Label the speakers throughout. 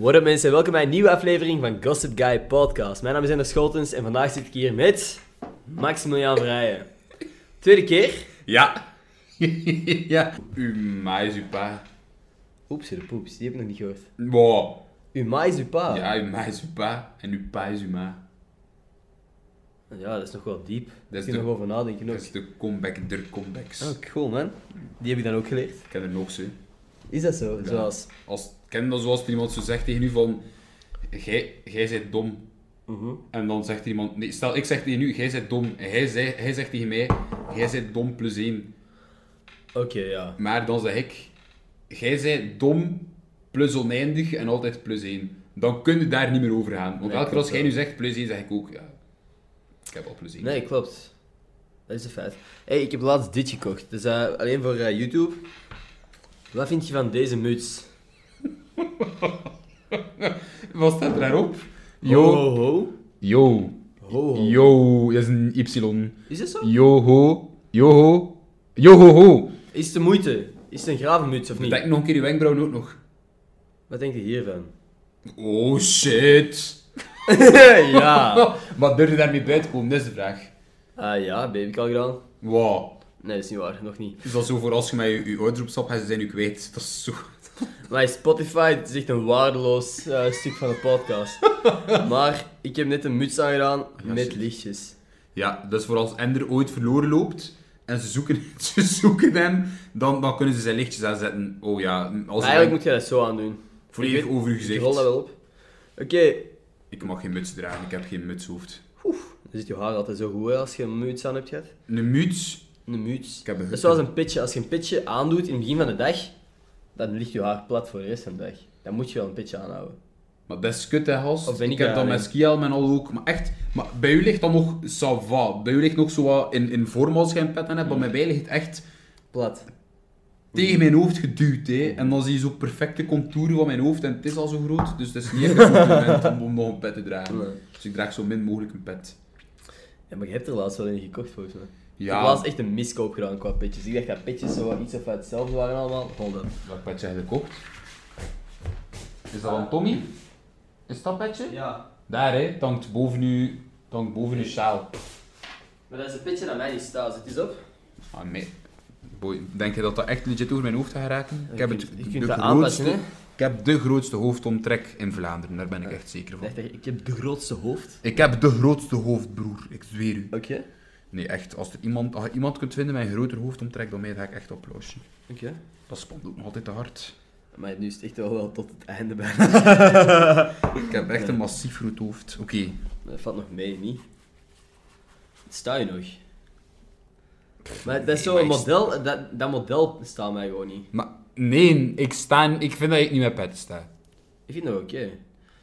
Speaker 1: What up mensen, welkom bij een nieuwe aflevering van Gossip Guy Podcast. Mijn naam is Ender Scholtens en vandaag zit ik hier met Maximiliaan Vrijen. Tweede keer.
Speaker 2: Ja. ja. Uw ma is uw pa.
Speaker 1: Oeps, de poeps, die heb ik nog niet gehoord.
Speaker 2: Wow.
Speaker 1: Uw ma is uw pa.
Speaker 2: Ja, uw ma is uw pa en uw pa is uw ma.
Speaker 1: Ja, dat is nog wel diep. Daar
Speaker 2: is
Speaker 1: kun je
Speaker 2: de-
Speaker 1: nog over nadenken ook.
Speaker 2: Dat is de comeback der comebacks.
Speaker 1: Oh, cool man. Die heb ik dan ook geleerd.
Speaker 2: Ik ken er nog zo.
Speaker 1: Is dat zo? Zoals...
Speaker 2: Als, ik ken dat zoals iemand zo zegt tegen u van... Jij jij bent dom.
Speaker 1: Mhm.
Speaker 2: En dan zegt iemand... Nee, stel, ik zeg tegen u, jij bent dom. En hij, zei, hij zegt tegen mij, jij bent dom plus één.
Speaker 1: Oké, ja.
Speaker 2: Maar dan zeg ik... Jij bent dom plus oneindig en altijd plus één. Dan kun je daar niet meer over gaan. Want elke keer
Speaker 1: klopt
Speaker 2: als jij
Speaker 1: wel.
Speaker 2: nu zegt plus één, zeg ik ook... Ja, ik heb al plus één.
Speaker 1: Nee, klopt. Dat is een feit. hey, ik heb laatst dit gekocht. Dus eh, alleen voor eh, YouTube. Wat vind je van deze muts?
Speaker 2: Wat staat er daarop?
Speaker 1: Ho, ho.
Speaker 2: Yo.
Speaker 1: Ho, ho.
Speaker 2: Yo. Dat is een Y.
Speaker 1: Is dat zo?
Speaker 2: Yo ho. Yo ho. Yo ho ho.
Speaker 1: Is het de moeite? Is het een gravenmuts of niet?
Speaker 2: Dek nog een keer je wenkbrauwen ook nog.
Speaker 1: Wat denk je hiervan?
Speaker 2: Oh shit.
Speaker 1: ja.
Speaker 2: maar durf je daarmee bij te komen? Dat is de vraag.
Speaker 1: Ah ja, baby, ik al gedaan.
Speaker 2: Wow.
Speaker 1: Nee, dat is niet waar, nog niet.
Speaker 2: Is dat zo voor als je met je, je ouders op stap gaat, ze zijn u kwijt. Dat is zo...
Speaker 1: Maar Spotify het is echt een waardeloos eh, stuk van de podcast. maar ik heb net een muts aangedaan
Speaker 2: Ja,
Speaker 1: met
Speaker 2: shit.
Speaker 1: lichtjes.
Speaker 2: Ja, dat is voor als Ender ooit verloren loopt en ze zoeken, ze zoeken hem, dan, dan kunnen ze zijn lichtjes aanzetten. Oh ja, als
Speaker 1: Eigenlijk
Speaker 2: hij
Speaker 1: moet je dat zo aandoen.
Speaker 2: volledig
Speaker 1: ik
Speaker 2: over je
Speaker 1: Ik rol dat
Speaker 2: gezicht.
Speaker 1: wel op. Oké,
Speaker 2: Ik mag geen muts dragen, ik heb geen mutshoofd.
Speaker 1: dan zit je haar altijd zo goed hè, als je een muts aan hebt gehad.
Speaker 2: Een muts
Speaker 1: Een muts.
Speaker 2: Ik heb een
Speaker 1: dat is
Speaker 2: hutje.
Speaker 1: zoals een pitje. Als je een pitje aandoet in het begin van de dag, dan ligt je haar plat voor de rest van de dag. Dan moet je wel een pitje aanhouden.
Speaker 2: Maar dat is kut, hè, gast.
Speaker 1: Of ben ik
Speaker 2: ik heb
Speaker 1: daar
Speaker 2: dat met
Speaker 1: alleen?
Speaker 2: skihelm en al ook. Maar echt, maar bij u ligt dat nog ça va. Bij u ligt nog zo wat in, in vorm als je een pet aan
Speaker 1: Hmm.
Speaker 2: hebt. Maar bij mij ligt het echt
Speaker 1: Plat.
Speaker 2: tegen mijn hoofd geduwd, hè. En dan zie je zo perfecte contouren van mijn hoofd. En het is al zo groot, dus het is niet echt een goed moment om, om nog een pet te dragen.
Speaker 1: Nee.
Speaker 2: Dus ik draag zo min mogelijk een pet.
Speaker 1: Ja, maar je hebt er laatst wel een gekocht volgens mij. Ik
Speaker 2: Ja.
Speaker 1: heb laatst echt een miskoop gedaan qua pitjes. Ik dacht dat pitjes zo wat iets of wat hetzelfde waren allemaal. Hold up.
Speaker 2: Welk petje heb je gekocht? Is dat van Tommy? Is dat petje?
Speaker 1: Ja,
Speaker 2: Daar, hè. Het hangt boven u, het hangt boven uw sjaal.
Speaker 1: maar dat is een pitje dat mij niet staat. Zit eens op.
Speaker 2: Ah, nee. Boy, denk je dat dat echt legit door mijn hoofd gaat geraken? Ik heb,
Speaker 1: kunt-
Speaker 2: het,
Speaker 1: je kunt
Speaker 2: de
Speaker 1: dat aanpassen,
Speaker 2: grootste,
Speaker 1: hè?
Speaker 2: ik heb de grootste hoofdomtrek in Vlaanderen, daar ben ik echt zeker van.
Speaker 1: Ik dacht echt, ik heb de grootste hoofd.
Speaker 2: Ik heb de grootste hoofdbroer, ik zweer u.
Speaker 1: Oké.
Speaker 2: Nee, echt, als, er iemand, als je iemand kunt vinden met een groter hoofdomtrek dan mij, dan ga ik echt applausje.
Speaker 1: Oké.
Speaker 2: Dat spant ook nog altijd te hard.
Speaker 1: Maar nu is het echt wel, wel tot het einde bijna.
Speaker 2: Ik heb echt een massief groot hoofd. Oké,
Speaker 1: Dat valt nog mee, niet? Sta je nog? Maar dat is
Speaker 2: nee,
Speaker 1: zo'n
Speaker 2: maar ik-
Speaker 1: model, dat, dat model staat mij gewoon niet.
Speaker 2: maar nee, ik, sta, ik vind dat ik niet met pet sta.
Speaker 1: Ik vind dat oké.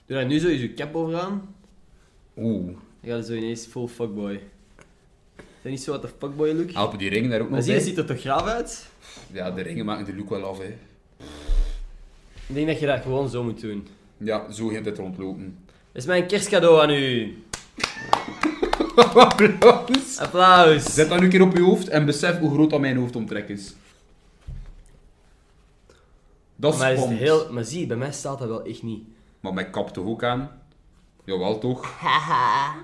Speaker 1: Doe daar nu zo eens je cap overaan,
Speaker 2: Oeh,
Speaker 1: dan gaat het zo ineens full fuckboy. Is dat niet zo wat de fuckboy look?
Speaker 2: helpen die ringen daar ook
Speaker 1: Maar
Speaker 2: nog
Speaker 1: zie je,
Speaker 2: bij?
Speaker 1: ziet er toch graaf uit?
Speaker 2: Ja, de ringen maken de look wel af, hè.
Speaker 1: Ik denk dat je dat gewoon zo moet doen.
Speaker 2: Ja, zo gaat het rondlopen.
Speaker 1: Dat is mijn kerstcadeau aan u.
Speaker 2: Applaus!
Speaker 1: Applaus.
Speaker 2: Zet dat nu een keer op je hoofd en besef hoe groot dat mijn hoofdomtrek is. Dat is
Speaker 1: maar, is het
Speaker 2: spannend.
Speaker 1: heel... maar zie, bij mij staat dat wel echt niet.
Speaker 2: Maar mijn kap toch ook aan? Jawel toch?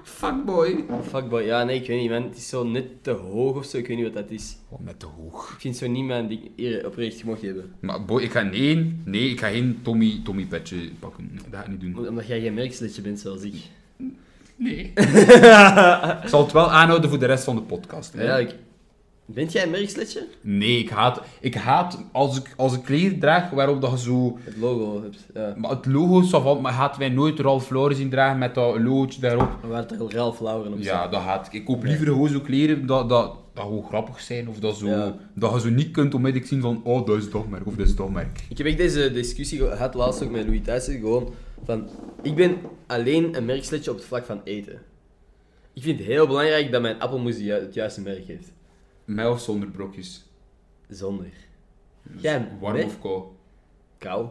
Speaker 2: Fuckboy.
Speaker 1: Fuckboy, ja nee, ik weet niet man. Het is zo net te hoog of zo, ik weet niet wat dat is.
Speaker 2: Wat net te hoog.
Speaker 1: Ik vind zo niet mijn ding hier oprecht gemocht hebben.
Speaker 2: Maar boy, ik ga nee, nee, ik ga geen Tommy, Tommy petje pakken. Nee, Dat ga ik niet doen.
Speaker 1: Omdat jij geen merksletje bent zoals ik.
Speaker 2: Nee. ik zal het wel aanhouden voor de rest van de podcast. hè.
Speaker 1: Ja, ik... Bent jij een merksletje?
Speaker 2: Nee, ik haat, ik haat als ik, als ik kleren draag waarop dat je zo...
Speaker 1: Het logo hebt, ja.
Speaker 2: Maar het logo is van, maar gaat wij nooit Ralph Lauren zien dragen met dat logootje daarop.
Speaker 1: We waren toch al Ralph Lauren op
Speaker 2: Ja, dat haat Dus ik. Ik koop liever gewoon zo kleren dat, dat, dat gewoon grappig zijn. Of dat, zo,
Speaker 1: Ja.
Speaker 2: dat je zo niet kunt onmiddellijk zien van, oh, dat is dat merk of dat is dat merk.
Speaker 1: Ik heb echt deze discussie gehad laatst ook met Louis Thijssen, gewoon van, ik ben alleen een merksletje op het vlak van eten. Ik vind het heel belangrijk dat mijn appelmoes ju- het juiste merk heeft.
Speaker 2: Mij of zonder brokjes.
Speaker 1: Zonder. Jij,
Speaker 2: Dus Warm
Speaker 1: met
Speaker 2: of koud.
Speaker 1: kou.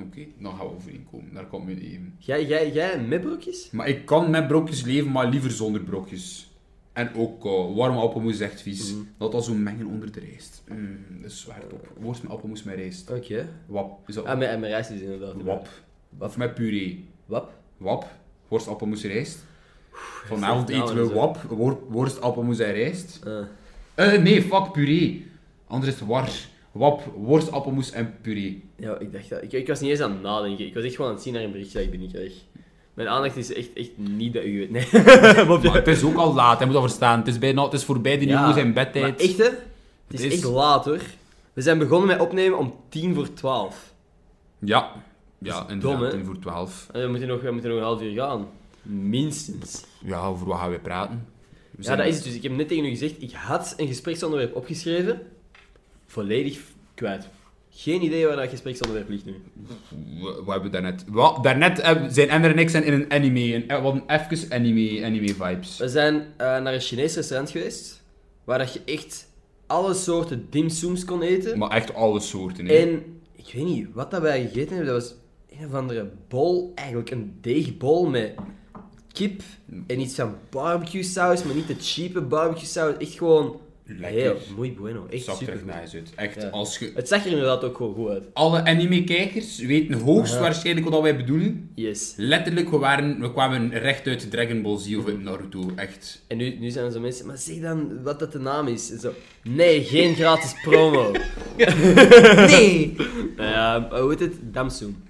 Speaker 2: Oké, dan gaan we overeenkomen. Daar komt me niet in.
Speaker 1: Jij, jij, jij met broekjes?
Speaker 2: Maar ik kan met brokjes leven, maar liever zonder brokjes. En ook eh, warme appelmoes is echt vies. Dat al zo mengen onder de rijst. Mm, dat is zwaar top. Worst met appelmoes met rijst.
Speaker 1: Oké.
Speaker 2: Wap. Is dat
Speaker 1: Ah, met, met rijst is inderdaad.
Speaker 2: wap? Of met puree.
Speaker 1: Wap?
Speaker 2: Wap, worst, appelmoes, rijst. Vanavond
Speaker 1: echt
Speaker 2: eten
Speaker 1: nou,
Speaker 2: we
Speaker 1: zo.
Speaker 2: wap, wor- worst, appelmoes en rijst.
Speaker 1: Eh,
Speaker 2: Eh, nee, fuck, puree. Anders war. Wap, worst, appelmoes en puree.
Speaker 1: ja, ik dacht dat. Ik, ik was niet eens aan het nadenken. Ik was echt gewoon aan het zien naar een bericht dat ik binnenkreeg. Mijn aandacht is echt, echt niet dat u weet. Nee. Mopje.
Speaker 2: Maar het is ook al laat, hij moet dat verstaan. Het is, bijna, het is voorbij de nieuwe zijn
Speaker 1: Maar
Speaker 2: bedtijd.
Speaker 1: echt hè? Het
Speaker 2: Het
Speaker 1: is,
Speaker 2: is-
Speaker 1: echt laat hoor. We zijn begonnen met opnemen om tien voor twaalf.
Speaker 2: Ja, ja
Speaker 1: Dat is dom, hè?
Speaker 2: inderdaad, 10 voor 12.
Speaker 1: En we moeten, nog, we moeten nog een half uur gaan. Minstens.
Speaker 2: Ja, over wat gaan we praten? We
Speaker 1: Ja,
Speaker 2: zijn-
Speaker 1: dat is het dus. Ik heb net tegen u gezegd, ik had een gespreksonderwerp opgeschreven. Volledig f- kwijt. Geen idee waar dat gespreksonderwerp ligt nu.
Speaker 2: Wa- Wat hebben we daarnet? Wat? Daarnet hebben- zijn Ender en ik zijn in een anime. Een, eh, wat een even anime, anime vibes.
Speaker 1: We zijn eh, naar een Chinees restaurant geweest, waar dat je echt alle soorten dimsums kon eten.
Speaker 2: Maar echt alle soorten. hè.
Speaker 1: En ik weet niet wat dat wij gegeten hebben. Dat was een of andere bol, eigenlijk een deegbol met kip en iets van barbecue saus, maar niet de cheap barbecue saus. Echt gewoon
Speaker 2: Lekker.
Speaker 1: heel muy bueno. Echt
Speaker 2: Zag er
Speaker 1: super.
Speaker 2: echt nice uit. Echt,
Speaker 1: Ja.
Speaker 2: als je...
Speaker 1: Het zag er inderdaad ook gewoon goed uit.
Speaker 2: Alle anime-kijkers weten hoogstwaarschijnlijk wat wij bedoelen.
Speaker 1: Yes.
Speaker 2: Letterlijk, we, waren, we kwamen recht uit Dragon Ball Z of uit Naruto, echt.
Speaker 1: En nu, nu zijn er zo mensen, maar zeg dan wat dat de naam is. En zo, nee, geen gratis promo.
Speaker 2: Nee!
Speaker 1: Ehm, hoe heet het? Damsum.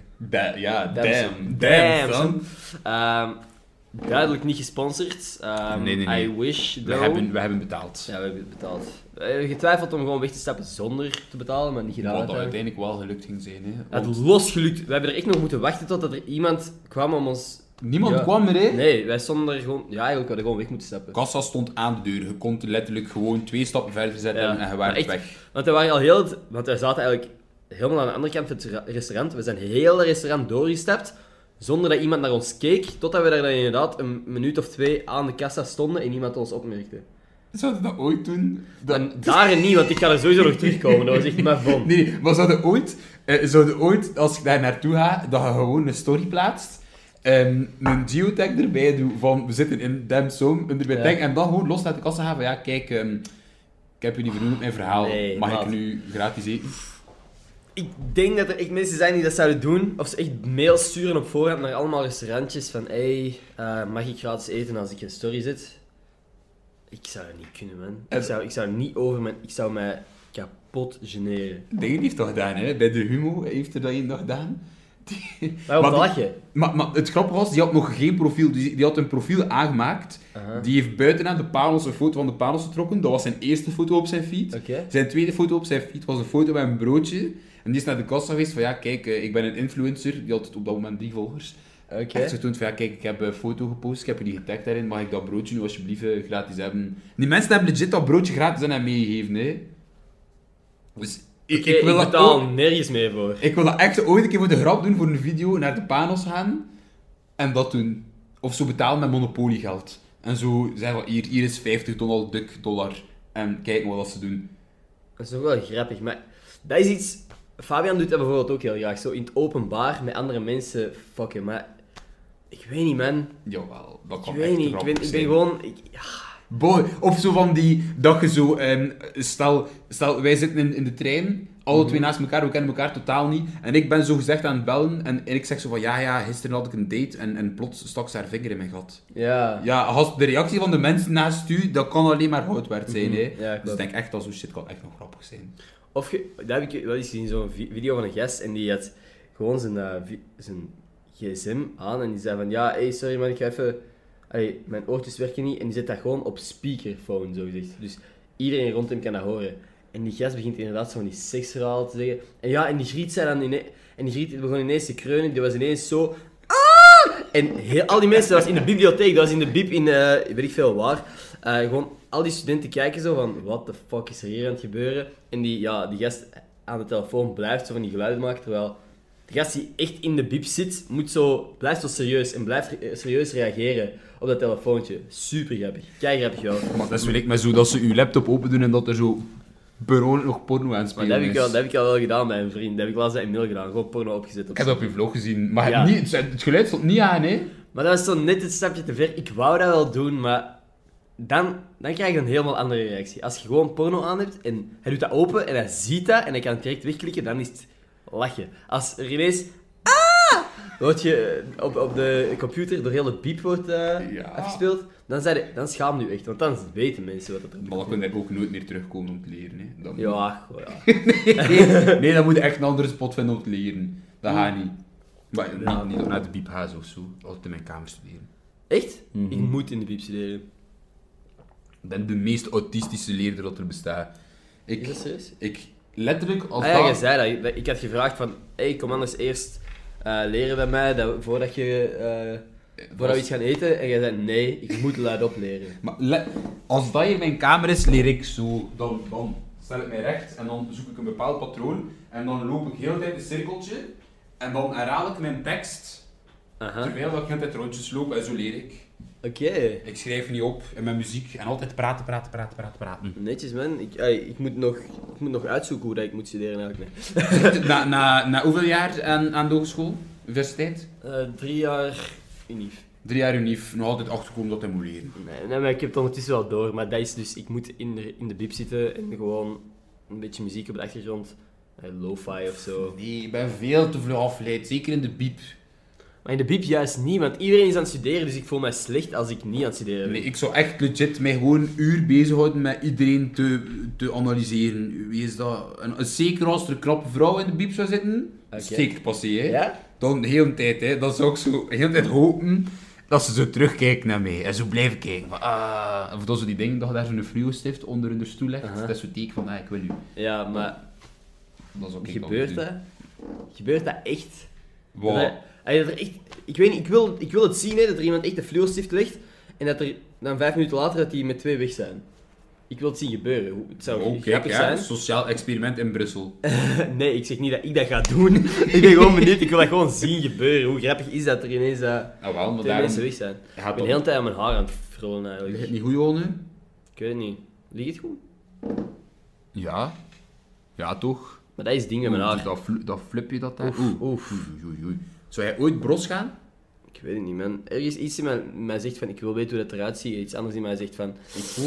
Speaker 2: ja,
Speaker 1: Damn,
Speaker 2: damn. Damn,
Speaker 1: damn,
Speaker 2: son.
Speaker 1: Ehm, duidelijk niet gesponsord. Ehm,
Speaker 2: Nee, nee, nee.
Speaker 1: I wish,
Speaker 2: We
Speaker 1: though.
Speaker 2: hebben, we hebben betaald.
Speaker 1: Ja, we hebben het betaald. We hebben getwijfeld om gewoon weg te stappen zonder te betalen, maar niet gedaan.
Speaker 2: Wat dat
Speaker 1: uiteindelijk.
Speaker 2: uiteindelijk wel gelukt ging zijn, hè.
Speaker 1: Het
Speaker 2: Want
Speaker 1: had losgelukt. We hebben er echt nog moeten wachten totdat er iemand kwam om ons...
Speaker 2: niemand
Speaker 1: Ja.
Speaker 2: kwam er, hè.
Speaker 1: Nee, wij stonden er gewoon... Ja, eigenlijk hadden we gewoon weg moeten stappen.
Speaker 2: Kassa stond aan de deur. Je kon letterlijk gewoon twee stappen verder zetten
Speaker 1: Ja,
Speaker 2: en je
Speaker 1: maar
Speaker 2: waart
Speaker 1: echt-
Speaker 2: weg.
Speaker 1: Want we waren al heel... het- Want wij zaten eigenlijk helemaal aan de andere kant van het ra- restaurant. We zijn heel het restaurant doorgestapt, zonder dat iemand naar ons keek, totdat we daar dan inderdaad een minuut of twee aan de kassa stonden en iemand ons opmerkte.
Speaker 2: Zouden dat ooit doen?
Speaker 1: En daar en niet, want ik ga er sowieso nog terugkomen. Dat was echt mijn bon.
Speaker 2: Nee, nee, maar zouden ooit, eh, zouden ooit, als ik daar naartoe ga, dat je gewoon een story plaatst, ehm, een geotag erbij doet van we zitten in Damsum, erbij
Speaker 1: Ja.
Speaker 2: tag, en dan gewoon los naar de kassa gaan van ja, kijk, ehm, ik heb jullie vernoemd op mijn verhaal,
Speaker 1: Nee,
Speaker 2: mag
Speaker 1: maat.
Speaker 2: ik nu gratis eten?
Speaker 1: Ik denk dat er echt mensen zijn die dat zouden doen. Of ze echt mails sturen op voorhand naar allemaal restaurantjes van hey, eh, mag ik gratis eten als ik in story zit? Ik zou dat niet kunnen, man. Ik
Speaker 2: En-
Speaker 1: zou, ik zou niet over mijn... Ik zou mij kapot generen.
Speaker 2: Dingen heeft dat gedaan, hè? bij de Humo heeft er dat één dag gedaan. Die-
Speaker 1: Waarom
Speaker 2: Maar die-
Speaker 1: lach je?
Speaker 2: Maar, maar het grappige was, die had nog geen profiel. Dus die had een profiel aangemaakt.
Speaker 1: Aha.
Speaker 2: Die heeft buitenaan de parels een foto van de parels getrokken. Dat was zijn eerste foto op zijn feed.
Speaker 1: Oké.
Speaker 2: Zijn tweede foto op zijn feed was een foto met een broodje. En die is naar de kassa geweest van ja, kijk, eh, ik ben een influencer. Die had op dat moment drie volgers.
Speaker 1: Oké.
Speaker 2: Echt getoond van ja, kijk, ik heb een foto gepost. Ik heb jullie getagd daarin. Mag ik dat broodje nu alsjeblieft eh, gratis hebben? Die mensen hebben legit dat broodje gratis aan hem meegegeven. Hè. Dus ik,
Speaker 1: Oké, ik,
Speaker 2: wil dat
Speaker 1: betaal
Speaker 2: ook-
Speaker 1: nergens mee voor.
Speaker 2: ik wil dat echt ooit een keer voor de grap doen, voor een video, naar de panos gaan en dat doen. Of zo betalen met monopoliegeld. En zo zeggen van hier, hier is 50 dollar, duk dollar. En kijk maar wat ze doen.
Speaker 1: Dat is ook wel grappig, maar dat is iets... Fabian doet dat bijvoorbeeld ook heel graag. Zo in het openbaar met andere mensen fucken, maar... Ik weet niet, man.
Speaker 2: Jawel, dat
Speaker 1: Ik
Speaker 2: kan echt
Speaker 1: weet niet. Ik
Speaker 2: grappig
Speaker 1: ben, ik ben
Speaker 2: zijn.
Speaker 1: gewoon... Ik, ja.
Speaker 2: Boy, of zo van die, dat je zo, ehm, stel, stel, wij zitten in, in de trein, alle
Speaker 1: Mhm.
Speaker 2: twee naast elkaar, we kennen elkaar totaal niet. En ik ben zo gezegd aan het bellen en, en ik zeg zo van, ja, ja, gisteren had ik een date en, en plots stak ze haar vinger in mijn gat.
Speaker 1: ja.
Speaker 2: Ja, als de reactie van de mensen naast u, dat kan alleen maar goud waard zijn.
Speaker 1: Mhm. Ja,
Speaker 2: hè.
Speaker 1: klopt.
Speaker 2: dus ik denk echt dat zo'n shit kan echt nog grappig zijn.
Speaker 1: Of je, dat heb ik wel eens gezien, zo'n vi- video van een gast en die had gewoon zijn, eh, vi- zijn gsm aan en die zei van ja, hey, sorry man, ik ga even... Allee, mijn oortjes werken niet en die zet dat gewoon op speakerphone, zo gezegd. Dus iedereen rond hem kan dat horen. En die gast begint inderdaad zo van die seksverhaal te zeggen. En ja, en die griet zei dan ineens... En die griet begon ineens te kreunen, die was ineens zo... "Ah!" En heel, al die mensen, dat was in de bibliotheek, dat was in de bib, in eh, weet ik veel waar. Eh, gewoon al die studenten kijken zo van, what the fuck is er hier aan het gebeuren? En die, ja, die gast aan de telefoon blijft zo van die geluiden maken, terwijl de gast die echt in de bib zit, moet zo, blijft zo serieus en blijft eh, serieus reageren op dat telefoontje. Super grappig, kei grappig wel.
Speaker 2: Maar dat is wel ik met zo dat ze uw laptop open doen en dat er zo bureau nog porno aan
Speaker 1: Maar
Speaker 2: spelen
Speaker 1: dat heb, ik
Speaker 2: is.
Speaker 1: al, dat heb ik al wel gedaan bij een vriend. Dat heb ik laatst bij Emil gedaan. Gewoon porno opgezet. Op
Speaker 2: Ik heb dat op uw vlog gezien, maar
Speaker 1: Ja.
Speaker 2: niet, het- het geluid stond niet aan, hè?
Speaker 1: Maar dat was zo net het stapje te ver. Ik wou dat wel doen, maar dan, dan krijg je een helemaal andere reactie. Als je gewoon porno aan hebt en hij doet dat open en hij ziet dat en hij kan het direct wegklikken, dan is het lachen. Als er ineens... Ah! Word je eh, op, op de computer door heel het piep wordt eh,
Speaker 2: Ja.
Speaker 1: afgespeeld, dan, zei je, dan schaam je echt, want dan weten mensen wat dat er
Speaker 2: Maar dan kon hij ook nooit meer terugkomen om te leren. Hè. Dan...
Speaker 1: Ja, goh, ja.
Speaker 2: nee, dan moet je echt een andere spot vinden om te leren. Dat gaat niet. Maar niet,
Speaker 1: Ja.
Speaker 2: niet door naar de biep gaan of zo. Altijd in mijn kamer studeren.
Speaker 1: Echt? Ik moet in de piep studeren.
Speaker 2: Ik ben de meest autistische leerder dat er bestaat.
Speaker 1: Is
Speaker 2: Ik,
Speaker 1: dat serieus?
Speaker 2: ik letterlijk, als
Speaker 1: Ah ja, je
Speaker 2: dat-
Speaker 1: zei dat. Ik had gevraagd van, hey, kom anders eerst eh, leren bij mij, dat, voordat, je, eh, voordat
Speaker 2: als-
Speaker 1: we iets gaan eten. En jij zei, nee, ik moet luidop leren.
Speaker 2: Maar le- als dat hier mijn kamer is, leer ik zo. Dan, dan stel ik mij recht en dan zoek ik een bepaald patroon. En dan loop ik heel de tijd een cirkeltje. En dan herhaal ik mijn tekst.
Speaker 1: Aha,
Speaker 2: Terwijl dat ik heel de tijd rondjes loop en zo leer ik.
Speaker 1: oké.
Speaker 2: Ik schrijf niet op en mijn muziek. En altijd praten, praten, praten, praten, praten.
Speaker 1: Netjes man, ik, ey, ik, moet nog, ik moet nog uitzoeken hoe dat ik moet studeren eigenlijk. nee.
Speaker 2: na, na, na hoeveel jaar aan, aan de hogeschool? Universiteit?
Speaker 1: Eh, drie jaar unief.
Speaker 2: Drie jaar unief. Nog altijd achterkomen dat hij moet leren.
Speaker 1: Nee, nee, maar ik heb het ondertussen wel door, maar dat is dus, ik moet in de, in de bib zitten en gewoon een beetje muziek op de achtergrond, eh, lo-fi of zo.
Speaker 2: Nee, ik ben veel te vlug afgeleid. Zeker in de biep.
Speaker 1: Maar in de bib juist niet, want iedereen is aan het studeren, dus ik voel mij slecht als ik niet aan het studeren ben.
Speaker 2: Eh, Nee, ik zou echt legit mij gewoon een uur bezighouden met iedereen te, te analyseren. Wie is dat? Een, een- zeker als er een knappe vrouw in de biep zou zitten,
Speaker 1: Oké.
Speaker 2: steekt passé, hè.
Speaker 1: Ja?
Speaker 2: Dan de hele tijd, hè. Dan zou ik zo de hele tijd hopen dat ze zo terugkijken naar mij. En zo blijven kijken. Van, ah. Of dat ze die dingen, dat je daar zo'n fluo-stift onder hun stoel legt.
Speaker 1: Aha.
Speaker 2: Dat is zo'n teken van, ah, ik wil u.
Speaker 1: Ja, maar
Speaker 2: Oh, Dat is ook
Speaker 1: gebeurt dat? Gebeurt dat echt?
Speaker 2: Wow.
Speaker 1: Dat, hij- dat er echt ik weet niet, ik wil, ik wil het zien hè, dat er iemand echt een fluorstift legt en dat er dan vijf minuten later dat die met twee weg zijn. Ik wil het zien gebeuren. Hoe- Het zou
Speaker 2: Oké,
Speaker 1: grappig
Speaker 2: Oh, ja, dus-
Speaker 1: zijn.
Speaker 2: sociaal experiment in Brussel.
Speaker 1: Nee, ik zeg niet dat ik dat ga doen. ik ben gewoon benieuwd, ik wil dat gewoon zien gebeuren. Hoe grappig is dat er ineens eh,
Speaker 2: Nou wel, maar
Speaker 1: twee
Speaker 2: daarom...
Speaker 1: mensen weg zijn? Ik
Speaker 2: Gaat
Speaker 1: ben de hele tijd aan mijn haar aan het frullen eigenlijk.
Speaker 2: niet goed, Jone?
Speaker 1: Ik weet het niet. Ligt het goed?
Speaker 2: Ja. Ja, toch?
Speaker 1: Maar dat is het ding met mijn
Speaker 2: Oeh,
Speaker 1: haar.
Speaker 2: Dat, fl- dat flipje dat daar.
Speaker 1: Oef, oef.
Speaker 2: oei, oei, oei. Zou jij ooit bros gaan?
Speaker 1: Ik weet het niet, man. Er is iets in mij, mij zegt van ik wil weten hoe dat eruit ziet. Iets anders in mij zegt van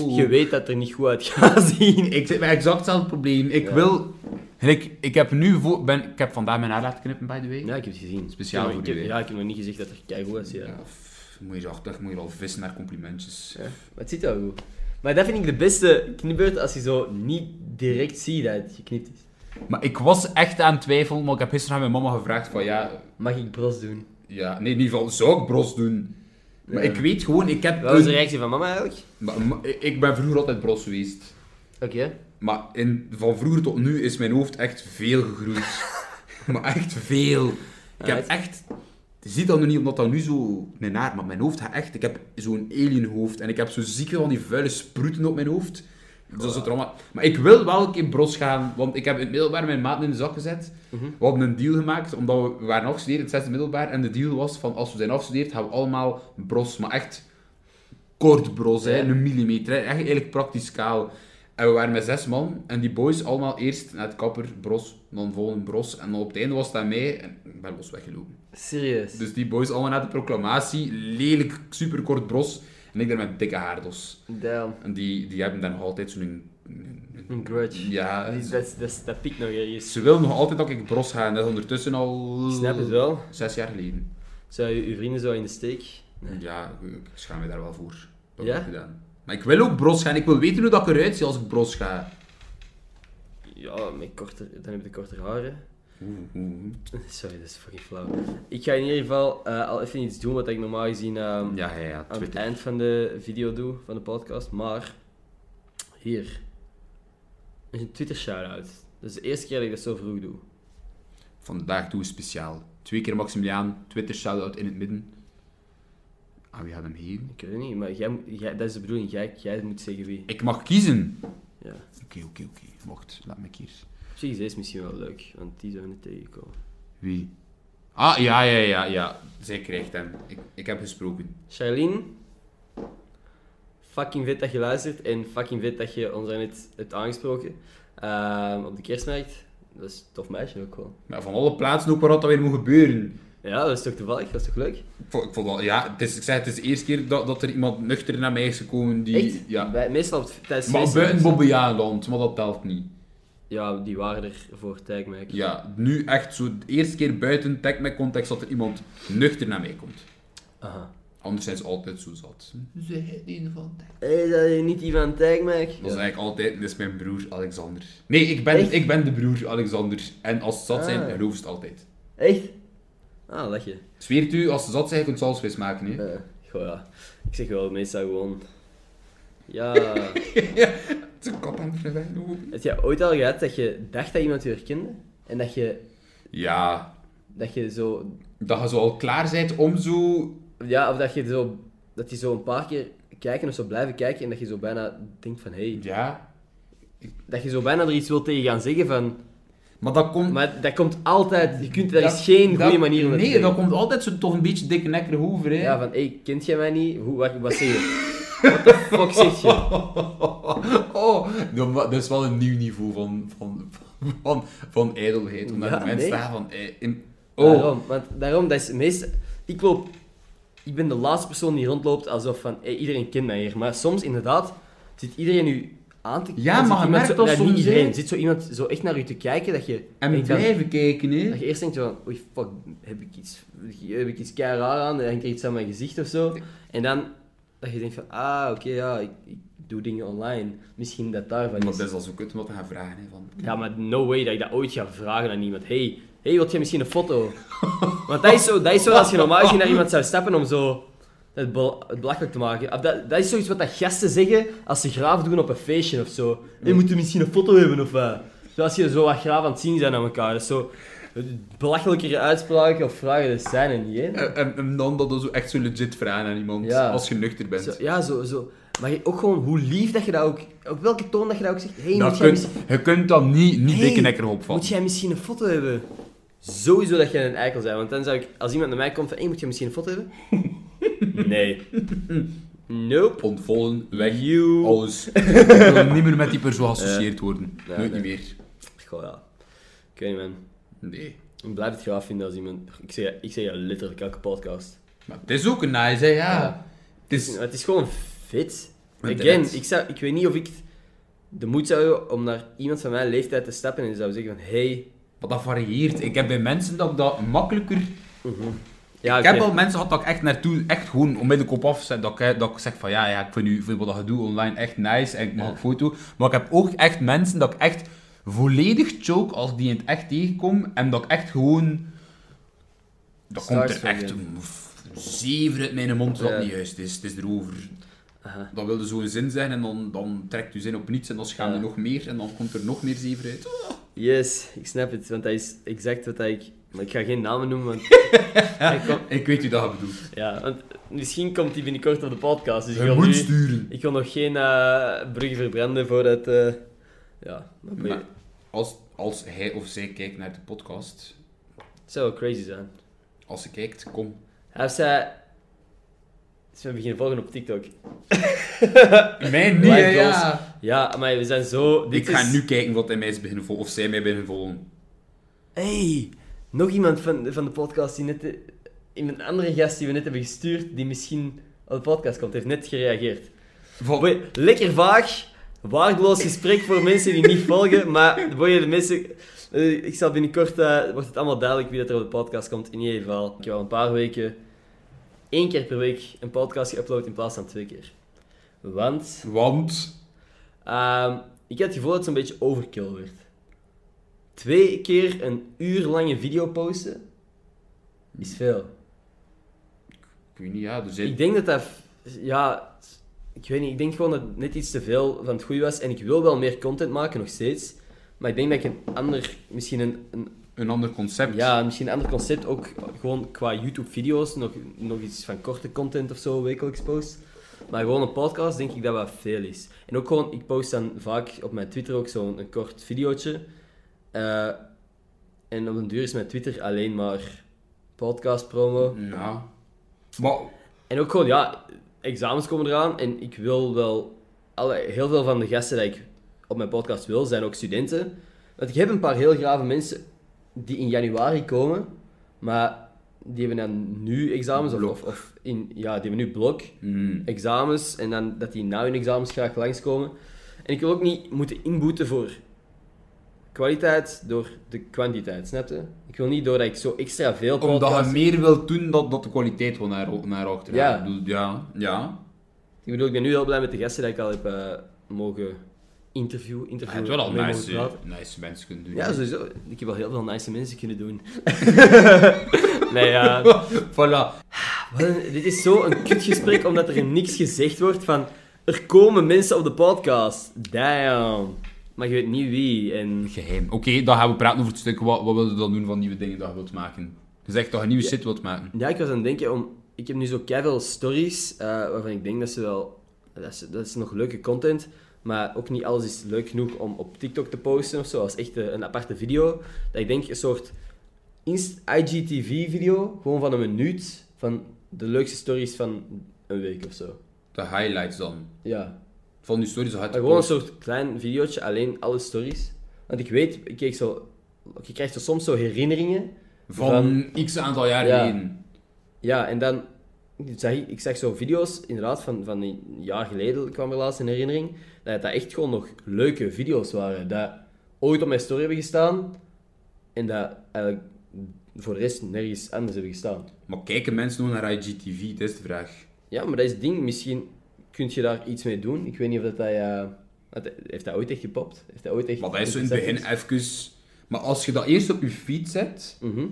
Speaker 1: je weet dat het er niet goed uit gaat zien.
Speaker 2: Ik zit met exact hetzelfde probleem. Ik
Speaker 1: Ja.
Speaker 2: wil. En ik, ik heb nu voor, ben, ik heb vandaag mijn haar laten knippen, by the way.
Speaker 1: Ja, ik heb het gezien.
Speaker 2: Speciaal
Speaker 1: Ik
Speaker 2: voor
Speaker 1: heb-
Speaker 2: u, hè?
Speaker 1: Ja, ik heb nog niet gezegd dat er keigoed uitziet. Ja.
Speaker 2: Ja, pff, moet je er achter, moet je er al vissen naar complimentjes.
Speaker 1: Maar het ziet wel goed. Maar dat vind ik de beste knipbeurt als je zo niet direct ziet dat het geknipt is.
Speaker 2: Maar ik was echt aan het twijfelen, maar ik heb gisteren aan mijn mama gevraagd van ja,
Speaker 1: Mag ik bros doen?
Speaker 2: ja, nee, in ieder geval zou ik bros doen. Maar
Speaker 1: Ja.
Speaker 2: ik weet gewoon, ik heb.
Speaker 1: Wat was de
Speaker 2: een-
Speaker 1: reactie van mama eigenlijk?
Speaker 2: maar- maar ik ben vroeger altijd bros geweest.
Speaker 1: Oké.
Speaker 2: Maar in, van vroeger tot nu is mijn hoofd echt veel gegroeid. maar echt veel. Ik heb
Speaker 1: Right.
Speaker 2: echt... Je ziet dat nu niet, omdat dat nu zo... Mijn haar, maar mijn hoofd gaat echt... Ik heb zo'n alienhoofd. En ik heb zo zieke van die vuile sproeten op mijn hoofd. Dus dat is het allemaal... Maar ik wil wel een keer bros gaan. Want ik heb in het middelbaar mijn maat in de zak gezet. We hadden een deal gemaakt, omdat we, we waren afgestudeerd in het zesde middelbaar. En de deal was van, als we zijn afgestudeerd, gaan we allemaal bros. Maar echt kort bros, hè,
Speaker 1: Ja.
Speaker 2: een millimeter. Hè, echt eigenlijk praktisch kaal. En we waren met zes man. En die boys allemaal eerst naar het kapper, bros, dan volgende bros. En dan op het einde was dat mij. En ik ben los weggelopen.
Speaker 1: Serieus.
Speaker 2: Dus die boys allemaal naar de proclamatie. Lelijk, superkort bros. En ik daar met dikke haardos.
Speaker 1: Damn.
Speaker 2: En die, die hebben dan nog altijd zo'n... een- een-
Speaker 1: Een grudge.
Speaker 2: Ja,
Speaker 1: Dat, is- dat, is- dat, is- dat pikt nog ergens.
Speaker 2: ze willen nog altijd dat ik bros ga. En dat is ondertussen al...
Speaker 1: Ik snap het wel.
Speaker 2: Zes jaar geleden.
Speaker 1: Zou je je vrienden zo in de steek?
Speaker 2: Ja, ik schaam me daar wel voor. Dat
Speaker 1: Ja?
Speaker 2: heb ik gedaan. Maar ik wil ook bros gaan. Ik wil weten hoe dat ik eruit zie als ik bros ga.
Speaker 1: Ja, met korter, dan heb je korter haren.
Speaker 2: Oeh, oeh.
Speaker 1: Sorry, dat is fucking flauw. Ik ga in ieder geval eh, al even iets doen wat ik normaal gezien ehm,
Speaker 2: Ja, ja, ja.
Speaker 1: aan het
Speaker 2: Twitter.
Speaker 1: eind van de video doe, van de podcast. Maar hier is een Twitter shout-out. Dat is de eerste keer dat ik dat zo vroeg doe.
Speaker 2: Vandaag doen we speciaal. Twee keer Maximiliaan, Twitter shout-out in het midden. Aan wie gaat hem geven?
Speaker 1: Ik weet het niet, maar jij, moet- jij, dat is de bedoeling. Jij, jij moet zeggen wie.
Speaker 2: Ik mag kiezen.
Speaker 1: Ja.
Speaker 2: Oké, oké, oké. Mocht, laat me kiezen.
Speaker 1: Op zich is deze misschien wel leuk, want die zijn we niet tegengekomen.
Speaker 2: Wie? Ah, ja, ja, ja, ja. Zij krijgt hem. Ik, ik heb gesproken.
Speaker 1: Charlene, fucking vet dat je luistert en fucking vet dat je ons net hebt aangesproken ehm, op de kerstmarkt. Dat is een tof meisje ook wel.
Speaker 2: Maar van alle plaatsen ook waar dat weer moet gebeuren.
Speaker 1: Ja, dat is toch toevallig? Dat is toch leuk?
Speaker 2: Ik vond, ik vond wel, ja, het is, ik zei, het is de eerste keer dat, dat er iemand nuchter naar mij is gekomen die...
Speaker 1: Echt?
Speaker 2: Ja.
Speaker 1: Wij- meestal op het- tijdens
Speaker 2: Maar
Speaker 1: feesten-
Speaker 2: buiten Bobbejaanland, maar dat telt niet.
Speaker 1: ja, die waren er voor Tijkmijk.
Speaker 2: Ja, nu echt zo de eerste keer buiten tag met context dat er iemand nuchter naar mij komt.
Speaker 1: Aha.
Speaker 2: Anders zijn ze altijd zo zat.
Speaker 1: Mhm.
Speaker 2: Ze het niet van tag.
Speaker 1: Hé, hey, dat is niet die van Tijkmijk.
Speaker 2: Dat is eigenlijk altijd, dit is mijn broer Alexander. Nee, ik ben,
Speaker 1: Echt?
Speaker 2: ik ben de broer Alexander. En als ze zat zijn,
Speaker 1: Ah.
Speaker 2: geloven ze het altijd.
Speaker 1: Echt? Ah, lachje.
Speaker 2: Zweert u, als ze zat zijn, kunt salsvlees maken. Hè?
Speaker 1: Eh, goh, ja. Ik zeg wel, meestal gewoon... Ja...
Speaker 2: ja, het is een kop aan het verwijden.
Speaker 1: Heb jij ooit al gehad dat je dacht dat iemand je herkende? En dat je,
Speaker 2: Ja,
Speaker 1: dat je zo
Speaker 2: dat je zo al klaar bent om zo
Speaker 1: Ja, of dat je zo, dat die zo een paar keer kijken of zo blijven kijken en dat je zo bijna denkt van hé. Hey,
Speaker 2: Ja,
Speaker 1: dat je zo bijna er iets wil tegen gaan zeggen van.
Speaker 2: maar dat komt.
Speaker 1: Maar dat komt altijd, je kunt, er
Speaker 2: dat-
Speaker 1: is geen
Speaker 2: dat-
Speaker 1: goede manier om dat te
Speaker 2: Nee,
Speaker 1: zeggen.
Speaker 2: dat komt altijd zo toch een beetje dikke nekker over. Hè.
Speaker 1: Ja, van hé, hey, kent jij mij niet? Hoe, wat, wat zeg je? Wat de fuck zeg je?
Speaker 2: oh, dat wa- dat is wel een nieuw niveau van, van, van, van ijdelheid. Omdat
Speaker 1: Ja,
Speaker 2: de mensen
Speaker 1: nee.
Speaker 2: staan van. eh, in- oh,
Speaker 1: Daarom, want daarom, dat is het meest. Ik loop, ik ben de laatste persoon die rondloopt alsof van hey, iedereen kent mij hier. Maar soms inderdaad zit iedereen u aan te
Speaker 2: Ja,
Speaker 1: zit
Speaker 2: maar je
Speaker 1: iemand
Speaker 2: merkt
Speaker 1: zo-
Speaker 2: dat
Speaker 1: nee, niet
Speaker 2: soms, hè.
Speaker 1: iedereen. Zit zo iemand zo echt naar u te kijken dat je.
Speaker 2: en
Speaker 1: denkt van,
Speaker 2: blijven kijken,
Speaker 1: Dat
Speaker 2: hè?
Speaker 1: je eerst denkt van, oei fuck, heb ik iets, heb ik iets kei raar aan, dan hangt er iets aan mijn gezicht of zo. En dan, dat je denkt van, ah oké, ja, ik, ik doe dingen online, misschien dat daarvan
Speaker 2: Maar
Speaker 1: is.
Speaker 2: dat is al zo kut om te gaan vragen. Hè, van.
Speaker 1: Ja, maar no way dat ik dat ooit ga vragen aan iemand. Hey, hey, wil jij misschien een foto? Want dat is zo, dat is zo als je normaal gezien naar iemand zou stappen om zo het, bel- het belachelijk te maken. Of Dat, dat is zoiets wat dat gasten zeggen als ze graaf doen op een feestje of zo. Hey, moet je misschien een foto hebben of wat? Zoals je zo wat graaf aan het zien zijn aan elkaar. Dat is zo belachelijkere uitspraken of vragen dat zijn er niet. hè.
Speaker 2: En, en- en dan dat we zo echt zo legit vragen aan iemand
Speaker 1: Ja.
Speaker 2: als je nuchter bent. Nou,
Speaker 1: Zo, ja, zo, zo. Maar je- ook gewoon hoe lief dat je dat ook... Op welke toon dat je dat ook zegt. Hey,
Speaker 2: dat
Speaker 1: moet jij
Speaker 2: kunt,
Speaker 1: misschien...
Speaker 2: je kunt dan niet, niet
Speaker 1: Hey,
Speaker 2: dikke nekker opvatten.
Speaker 1: Moet jij misschien een foto hebben? Sowieso dat jij een eikel bent, want dan zou ik, als iemand naar mij komt van, hey, moet jij misschien een foto hebben? nee. Nope.
Speaker 2: ontvolgen, weg,
Speaker 1: You.
Speaker 2: alles. Ik wil niet meer met die persoon geassocieerd worden.
Speaker 1: Ja,
Speaker 2: Nooit
Speaker 1: nee.
Speaker 2: niet meer.
Speaker 1: Goh, ja. Ik weet niet, man.
Speaker 2: Nee.
Speaker 1: Ik blijf het graag vinden als iemand... Ik zeg, ik zeg ja, letterlijk elke podcast.
Speaker 2: Maar het is ook een nice, hè, ja.
Speaker 1: Ja.
Speaker 2: Het is...
Speaker 1: Maar het is gewoon fit.
Speaker 2: Maar
Speaker 1: Again,
Speaker 2: terecht.
Speaker 1: ik, zou, ik weet niet of ik de moed zou hebben om naar iemand van mijn leeftijd te stappen en zou zeggen van, hey...
Speaker 2: Maar dat varieert. Ik heb bij mensen dat ik dat makkelijker...
Speaker 1: Ja,
Speaker 2: Ik
Speaker 1: oké.
Speaker 2: heb al mensen gehad dat ik echt naartoe, echt gewoon onmiddellijk op af zet, dat ik, dat ik zeg van ja, ja, ik vind, u, vind wat je doet online echt nice en ik mag een foto. Maar ik heb ook echt mensen dat ik echt volledig choke als ik die in het echt tegenkom en dat ik echt gewoon... Dat komt er
Speaker 1: Stars
Speaker 2: echt
Speaker 1: van
Speaker 2: een f- zever uit mijn mond dat
Speaker 1: Ja.
Speaker 2: niet juist is. Het is erover.
Speaker 1: Aha.
Speaker 2: Dan wilde zo'n zin zijn en dan, dan trekt uw zin op niets en dan gaan er
Speaker 1: Ja.
Speaker 2: nog meer en dan komt er nog meer zever uit.
Speaker 1: Yes, ik snap het, want dat is exact wat ik... Maar ik ga geen namen noemen, want... ik kom-
Speaker 2: Ik weet u dat je bedoelt.
Speaker 1: Ja, want misschien komt die binnenkort op de podcast. Dus ik
Speaker 2: Je
Speaker 1: wil,
Speaker 2: moet
Speaker 1: nu,
Speaker 2: sturen.
Speaker 1: ik wil nog geen eh bruggen verbranden voordat. eh ja, dat
Speaker 2: Maar als, als hij of zij kijkt naar de podcast,
Speaker 1: zou wel crazy zijn.
Speaker 2: als ze kijkt, kom.
Speaker 1: Hij zei. Ze beginnen volgen op TikTok.
Speaker 2: Mij niet,
Speaker 1: Like
Speaker 2: hè,
Speaker 1: those.
Speaker 2: ja.
Speaker 1: Ja, maar we zijn zo.
Speaker 2: Ik
Speaker 1: Dit
Speaker 2: ga
Speaker 1: is-
Speaker 2: nu kijken wat hij mij is beginnen volgen, of zij mij beginnen volgen.
Speaker 1: Hey, nog iemand van, van de podcast die net. de- Iemand andere gast die we net hebben gestuurd, die misschien op de podcast komt, heeft net gereageerd.
Speaker 2: Van,
Speaker 1: Boy, lekker vaag. Waardeloos gesprek voor mensen die niet volgen. Maar boy, de mensen. eh, ik zal binnenkort. eh, wordt het allemaal duidelijk wie dat er op de podcast komt. In ieder geval. Ik heb al een paar weken. één keer per week een podcast geüpload in plaats van twee keer. Want.
Speaker 2: want...
Speaker 1: ehm, ik had het gevoel dat het een beetje overkill werd. Twee keer een uur lange video posten. Is veel.
Speaker 2: Ik weet niet, ja, er zijn...
Speaker 1: Ik denk dat dat. Ja, ik weet niet. Ik denk gewoon dat het net iets te veel van het goede was. En ik wil wel meer content maken, nog steeds. Maar ik denk dat ik een ander, misschien een, een,
Speaker 2: Een ander concept.
Speaker 1: ja, misschien een ander concept ook gewoon qua YouTube-video's. Nog, nog iets van korte content of zo, wekelijks post. Maar gewoon een podcast denk ik dat wat veel is. En ook gewoon, ik post dan vaak op mijn Twitter ook zo'n een kort videootje. Eh, en op den duur is mijn Twitter alleen maar podcast promo.
Speaker 2: Ja. Maar...
Speaker 1: En ook gewoon, ja, examens komen eraan en ik wil wel... Alle, heel veel van de gasten die ik op mijn podcast wil, zijn ook studenten. Want ik heb een paar heel grave mensen die in januari komen, maar die hebben dan nu examens of,
Speaker 2: Blok.
Speaker 1: of, of in, ja, die hebben nu blok,
Speaker 2: hmm.
Speaker 1: examens, en dan dat die na hun examens graag langskomen. En ik wil ook niet moeten inboeten voor kwaliteit door de kwantiteit, snap je? Ik wil niet doordat ik zo extra veel
Speaker 2: Omdat je
Speaker 1: podcasts...
Speaker 2: meer wilt doen dan dat de kwaliteit gewoon naar, naar achter
Speaker 1: Ja.
Speaker 2: gaat. Ik bedoel, Ja, ja.
Speaker 1: Ik bedoel, ik ben nu heel blij met de gasten die ik al heb eh, mogen interviewen.
Speaker 2: Je
Speaker 1: interviewen
Speaker 2: hebt Ah, wel al
Speaker 1: mee mogen
Speaker 2: nice,
Speaker 1: praten.
Speaker 2: nice mensen kunnen doen.
Speaker 1: Ja, sowieso. Ik heb al heel veel nice mensen kunnen doen. nee, ja.
Speaker 2: voilà.
Speaker 1: Wat een- dit is zo'n kutgesprek omdat er niks gezegd wordt van... Er komen mensen op de podcast. Damn. Maar je weet niet wie. En...
Speaker 2: Geheim. Oké, dan gaan we praten over het stuk. Wat, wat wil je dan doen van nieuwe dingen dat je wilt maken? Je zegt dat je een nieuwe shit wilt maken.
Speaker 1: Ja, ik was aan het denken om... Ik heb nu zo keiveel stories eh, waarvan ik denk dat ze wel... Dat is, dat is nog leuke content. Maar ook niet alles is leuk genoeg om op TikTok te posten of zo. Als echt eh, een aparte video. Dat ik denk een soort Inst- IGTV-video. Gewoon van een minuut. Van de leukste stories van een week of zo.
Speaker 2: De highlights dan.
Speaker 1: Ja.
Speaker 2: Van die stories dat je
Speaker 1: Maar
Speaker 2: hebt
Speaker 1: gewoon een
Speaker 2: gepost.
Speaker 1: soort klein videootje, alleen alle stories. Want ik weet, ik kreeg zo, je krijgt zo soms zo herinneringen.
Speaker 2: Van x aantal jaar
Speaker 1: Ja.
Speaker 2: geleden.
Speaker 1: Ja, en dan zag ik, ik zag zo video's, inderdaad, van, van een jaar geleden kwam er laatst een herinnering. Dat dat echt gewoon nog leuke video's waren. Dat ooit op mijn story hebben gestaan. En dat eigenlijk voor de rest nergens anders hebben gestaan.
Speaker 2: Maar kijken mensen nog naar IGTV? Dat is de vraag.
Speaker 1: Ja, maar dat is het ding. Misschien kun je daar iets mee doen. Ik weet niet of dat, dat, ja, dat- heeft dat ooit echt gepopt? Heeft dat ooit echt
Speaker 2: Maar dat is zo in het begin even... Maar als je dat eerst op je feed zet,
Speaker 1: Mhm.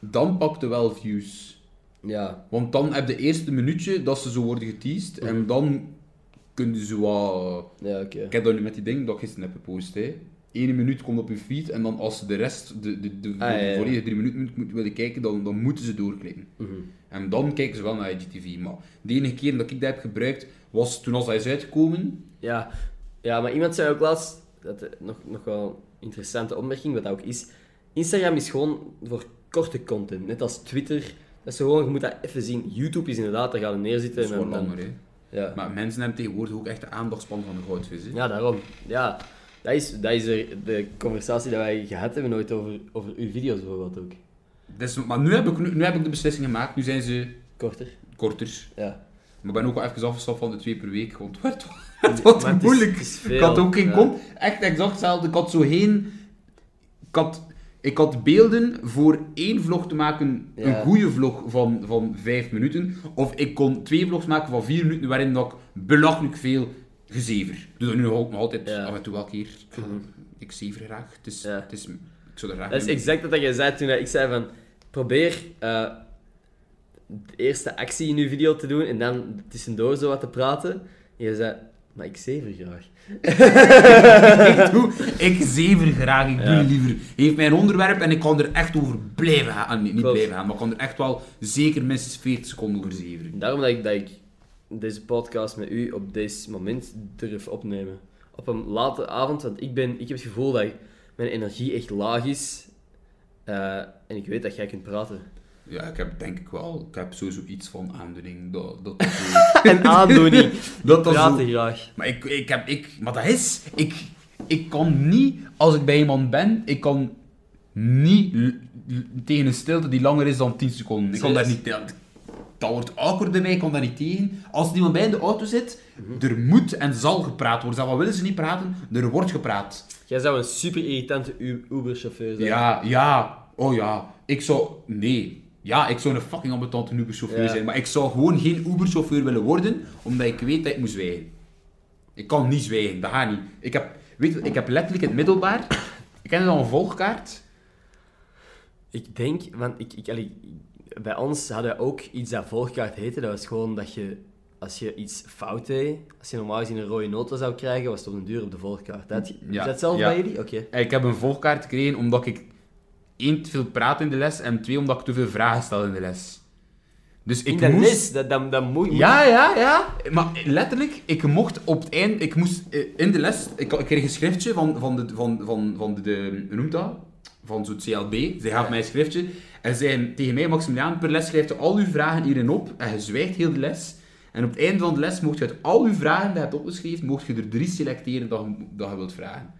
Speaker 2: dan pakt je wel views.
Speaker 1: Ja,
Speaker 2: Want dan heb je het eerste minuutje dat ze zo worden geteased.
Speaker 1: Mhm.
Speaker 2: En dan kunnen ze wat...
Speaker 1: ja oké.
Speaker 2: Ik heb dat nu met die ding dat ik gisteren heb gepost. Hè. Eén minuut komt op je feed en dan als ze de rest, de, de, de,
Speaker 1: Ah, ja, ja.
Speaker 2: de volledige drie minuten moet- moeten willen kijken, dan, dan moeten ze doorklikken.
Speaker 1: Mhm.
Speaker 2: En dan kijken ze wel naar IGTV. Maar de enige keer dat ik dat heb gebruikt, was toen als hij is uitgekomen.
Speaker 1: Ja. ja, maar iemand zei ook laatst, dat eh, nog, nog wel een interessante opmerking, wat dat ook is. Instagram is gewoon voor korte content, net als Twitter. Dat is gewoon, je moet dat even zien. YouTube is inderdaad, daar gaan we neerzitten.
Speaker 2: Dat is
Speaker 1: en
Speaker 2: wel
Speaker 1: dan-
Speaker 2: langer. Hè.
Speaker 1: Ja.
Speaker 2: Maar mensen hebben tegenwoordig ook echt de aandachtspan van de goudvis. Hè.
Speaker 1: ja, daarom. Ja, dat is, dat is er, de conversatie die wij gehad hebben nooit over, over uw video's bijvoorbeeld ook.
Speaker 2: Dus, maar nu heb, ik, nu, nu heb ik de beslissing gemaakt, nu zijn ze
Speaker 1: Korter,
Speaker 2: korter.
Speaker 1: ja.
Speaker 2: Maar ik ben ook wel even afgestapt van de twee per week, want het werd, het wordt
Speaker 1: Maar het is-
Speaker 2: moeilijk.
Speaker 1: het is veel, eh,
Speaker 2: ik had ook geen
Speaker 1: ja.
Speaker 2: kont. Echt exact hetzelfde. Ik had zo geen... Ik had, ik had beelden voor één vlog te maken,
Speaker 1: Ja.
Speaker 2: een goede vlog van, van vijf minuten. Of ik kon twee vlogs maken van vier minuten, waarin dat ik belachelijk veel gezever. Ik Doe dat nu ook nog altijd,
Speaker 1: Ja. Mhm.
Speaker 2: af en toe wel een keer. Ik, ik zever graag. Het is,
Speaker 1: Ja.
Speaker 2: het is, ik zou er graag
Speaker 1: Dat is
Speaker 2: mee-
Speaker 1: exact wat jij zei toen dat ik zei van... Probeer eh, de eerste actie in je video te doen en dan tussendoor zo wat te praten. En je zei, maar ik zever graag.
Speaker 2: ik, doe, ik zever graag, ik
Speaker 1: Ja.
Speaker 2: doe liever. Heeft mijn onderwerp en ik kan er echt over blijven gaan. Ah, nee, niet
Speaker 1: Klopt.
Speaker 2: blijven gaan, maar ik kan er echt wel zeker minstens 40 seconden over zeveren.
Speaker 1: Daarom dat ik, dat ik deze podcast met u op dit moment durf opnemen. Op een late avond, want ik, ben, ik heb het gevoel dat ik- mijn energie echt laag is. eh, en ik weet dat jij kunt praten.
Speaker 2: Ja, ik heb denk ik wel, ik heb sowieso iets van aandoening. Dat, dat, dat zo,
Speaker 1: En aandoening.
Speaker 2: dat, dat zo-
Speaker 1: Praten graag.
Speaker 2: Maar ik, ik heb, ik, maar dat is, ik, ik kan niet, als ik bij iemand ben, ik kan niet l- l- tegen een stilte die langer is dan 10 seconden. Ik kan daar
Speaker 1: Serieus?
Speaker 2: niet tegen. Dat wordt awkward bij mij, ik kan daar niet tegen. Als er iemand bij in de auto zit, er moet en zal gepraat worden. Zelfs al willen ze niet praten, er wordt gepraat.
Speaker 1: Jij zou een super irritante U- Uber-chauffeur zijn.
Speaker 2: Ja, ja, oh ja. Ik zou, nee. Ja, ik zou een fucking ambetante Uber-chauffeur
Speaker 1: Ja.
Speaker 2: zijn, maar ik zou gewoon geen Uber-chauffeur willen worden, omdat ik weet dat ik moet zwijgen. Ik kan niet zwijgen, dat gaat niet. Ik heb, weet je, ik heb letterlijk in het middelbaar, ik ken al een volgkaart.
Speaker 1: Ik denk, want ik, ik, allee, bij ons hadden we ook iets dat volgkaart heette. Dat was gewoon dat je, als je iets fout deed, als je normaal gezien een rode nota zou krijgen, was het op een duur op de volgkaart. Dat,
Speaker 2: Ja,
Speaker 1: Is dat zelf
Speaker 2: ja.
Speaker 1: bij jullie? Oké.
Speaker 2: En Eh, ik heb een volgkaart gekregen omdat ik één, te veel praat in de les, en twee, omdat ik te veel vragen stel in de les. Dus ik
Speaker 1: In dat
Speaker 2: moest...
Speaker 1: les, dat, dat, dat moet
Speaker 2: Ja, ja, ja. Maar letterlijk, ik mocht op het eind... Ik moest eh, in de les... Ik, ik kreeg een schriftje van, van, de, van, van, van de, de... Hoe noemt dat? Van zo'n CLB. Zij gaf mij een schriftje. En zei tegen mij, Maximiliaan, per les schrijft je al uw vragen hierin op. En je zwijgt heel de les. En op het einde van de les mocht je uit al uw vragen die je hebt opgeschreven, mocht je er drie selecteren dat je, dat je wilt vragen.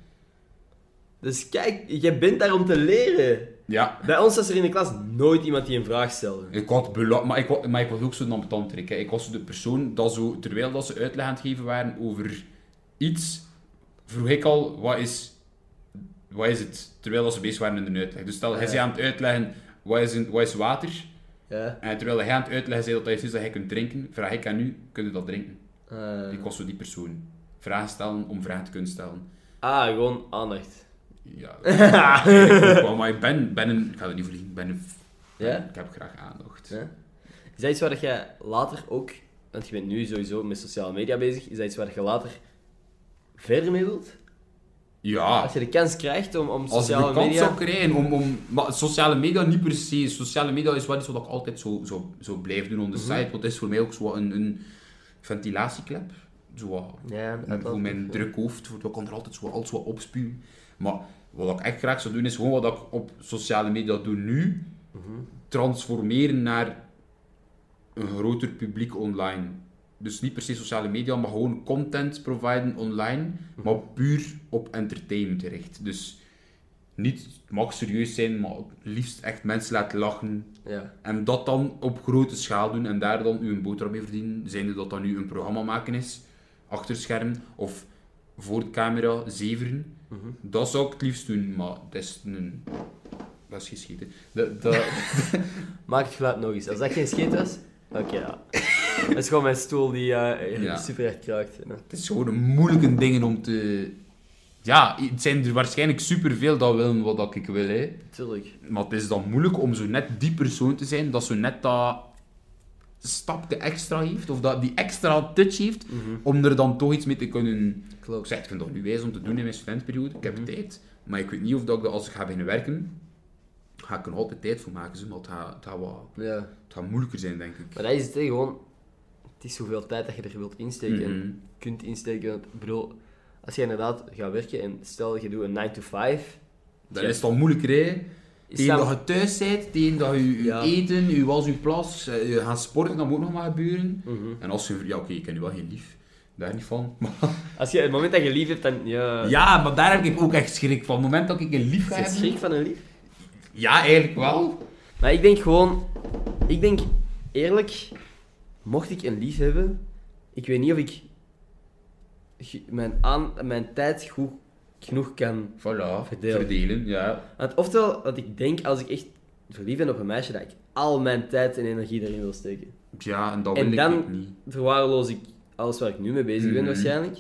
Speaker 1: Dus kijk, jij bent daar om te leren.
Speaker 2: Ja.
Speaker 1: Bij ons was er in de klas nooit iemand die een vraag stelde.
Speaker 2: Ik had bela- maar, ik, wa- maar ik was ook zo'n ambetant Rick, hè. Ik was zo de persoon dat zo, terwijl dat ze uitleg aan het geven waren over iets, vroeg ik al, wat is wat is het, terwijl dat ze bezig waren in de uitleg. Dus stel, hij is aan het uitleggen, wat is, een- wat is water?
Speaker 1: Ja.
Speaker 2: En terwijl hij aan het uitleggen zei dat dat iets is dat hij kunt drinken, vraag ik aan u, kun je dat drinken?
Speaker 1: Eh,
Speaker 2: Ik was zo die persoon. Vragen stellen om vragen te kunnen stellen.
Speaker 1: ah, gewoon aandacht.
Speaker 2: Ja, dat is eigenlijk wel, maar ik ben, ben een, ik ga dat niet verliezen, ik ben een,
Speaker 1: Ja?
Speaker 2: ik heb graag aandacht.
Speaker 1: Ja. Is dat iets waar dat jij later ook, want je bent nu sowieso met sociale media bezig, is dat iets waar dat je later verder mee wilt?
Speaker 2: Ja,
Speaker 1: Als je de kans krijgt om, om
Speaker 2: Ah. als ik de
Speaker 1: sociale
Speaker 2: kans
Speaker 1: media...
Speaker 2: zou krijgen om, om... Maar sociale media niet per se. Sociale media is wel iets wat ik altijd zo, zo, zo blijf doen on the site. Want het is voor mij ook zo wat een, een ventilatieklep. Zo wat
Speaker 1: Ja,
Speaker 2: En
Speaker 1: dat
Speaker 2: voor mijn druk hoofd, voor- ik kan er altijd zo, alles wat opspuwen. Maar wat ik echt graag zou doen, is gewoon wat ik op sociale media doe nu, transformeren naar een groter publiek online. Dus niet per se sociale media, maar gewoon content providen online, maar puur op entertainment gericht. Dus niet, het mag serieus zijn, maar liefst echt mensen laten lachen,
Speaker 1: Ja.
Speaker 2: en dat dan op grote schaal doen en daar dan uw boterham mee verdienen, zijnde dat dat nu een programma maken is, achter scherm of voor de camera, zeveren, dat zou ik het liefst doen, maar dat is een... Dat is geschieten. Dat, dat,
Speaker 1: Maak het geluid nog eens. Als dat geen scheet was... Oké, ja. Dat is gewoon mijn stoel die eh,
Speaker 2: Ja.
Speaker 1: super hard kraakt. Ja.
Speaker 2: het is gewoon een moeilijke dingen om te... Ja, het zijn er waarschijnlijk superveel dat willen wat dat ik wil, hè.
Speaker 1: Tuurlijk.
Speaker 2: Maar het is dan moeilijk om zo net die persoon te zijn dat zo net dat stapje extra heeft, of dat die extra touch heeft, om er dan toch iets mee te kunnen... Ik
Speaker 1: Mhm. Klopt. Mhm.
Speaker 2: zei, ik vind dat nu wijs om te doen in mijn studentperiode. Ik heb tijd, maar ik weet niet of dat ik dat als ik ga beginnen werken, ga ik er altijd tijd voor maken. zeg, Maar het gaat, het, gaat wat,
Speaker 1: Ja.
Speaker 2: het gaat moeilijker zijn, denk ik.
Speaker 1: Maar dat is het, hè, gewoon... Het is hoeveel tijd dat je er wilt insteken
Speaker 2: Mhm.
Speaker 1: en kunt insteken. Want, ik bedoel, als je inderdaad gaat werken en stel je doet een 9 to 5...
Speaker 2: Dan
Speaker 1: Ja.
Speaker 2: is het al moeilijker, hè.
Speaker 1: Is
Speaker 2: Tegen
Speaker 1: dat-
Speaker 2: dat je thuis bent, tegen dat je je
Speaker 1: Ja.
Speaker 2: eten, je was, je plas, eh, je gaat sporten, dat moet nog maar gebeuren.
Speaker 1: Mhm.
Speaker 2: En als je... Ja, oké, ik ken nu wel geen lief. Daar niet van. Maar,
Speaker 1: Als je het moment dat je lief hebt, dan... Ja,
Speaker 2: ja, maar daar heb ik ook echt schrik van. Op het moment dat ik een lief ga
Speaker 1: Is je
Speaker 2: hebben...
Speaker 1: schrik van een lief?
Speaker 2: Ja, eigenlijk wel.
Speaker 1: Maar ik denk gewoon, ik denk eerlijk, mocht ik een lief hebben, ik weet niet of ik ge- mijn, aan, mijn tijd goed genoeg kan.
Speaker 2: Voilà,
Speaker 1: Verdeel.
Speaker 2: verdelen, ja.
Speaker 1: Want oftewel, want ik denk als ik echt verliefd ben op een meisje, dat ik al mijn tijd en energie erin wil steken.
Speaker 2: Ja, en dat
Speaker 1: En
Speaker 2: wil
Speaker 1: dan-
Speaker 2: ik ook niet.
Speaker 1: Verwaarloos ik alles waar ik nu mee bezig ben
Speaker 2: Mhm.
Speaker 1: waarschijnlijk.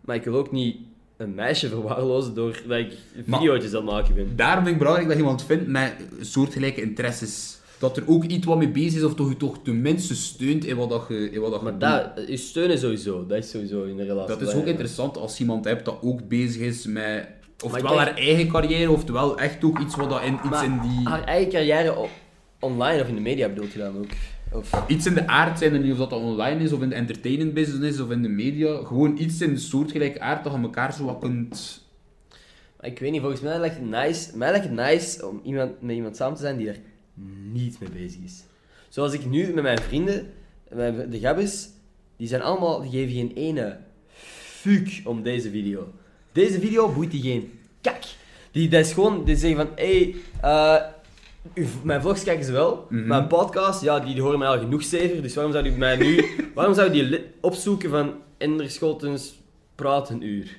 Speaker 1: Maar ik wil ook niet een meisje verwaarlozen door dat ik
Speaker 2: Maar-
Speaker 1: videootjes aan het maken ben.
Speaker 2: Daarom vind ik belangrijk dat je iemand vindt met soortgelijke interesses. Dat er ook iets wat mee bezig is, of toch je toch tenminste steunt in wat dat je, in wat dat je
Speaker 1: Maar
Speaker 2: doet.
Speaker 1: dat, eh, je steunen sowieso, dat is sowieso in de relatie.
Speaker 2: Dat is ook
Speaker 1: belangrijk.
Speaker 2: interessant als je iemand hebt dat ook bezig is met... Oftewel
Speaker 1: denk-
Speaker 2: haar eigen carrière, oftewel echt ook iets, wat dat in, iets,
Speaker 1: Maar Ah,
Speaker 2: in die,
Speaker 1: haar eigen carrière op, online of in de media bedoelt je dan ook? Of,
Speaker 2: iets in de aard zijn. En niet of dat, dat online is, of in de entertainment business, is, of in de media. Gewoon iets in de soortgelijke aard dat je elkaar zo wat kunt...
Speaker 1: ik weet niet, volgens mij lijkt het nice, mij lijkt het nice om iemand, met iemand samen te zijn die er niet mee bezig is. Zoals ik nu met mijn vrienden, mijn- de gabbers, die zijn allemaal, die geven geen ene fuck om deze video. Deze video boeit die geen kak. Die, dat is gewoon, die zeggen van, hé, hey, eh, uw mijn vlogs kijken ze wel, mijn podcast, ja, die, die horen mij al genoeg zeker, dus waarom zou die mij nu, waarom zou die li- opzoeken van Ender Schotens praat een uur?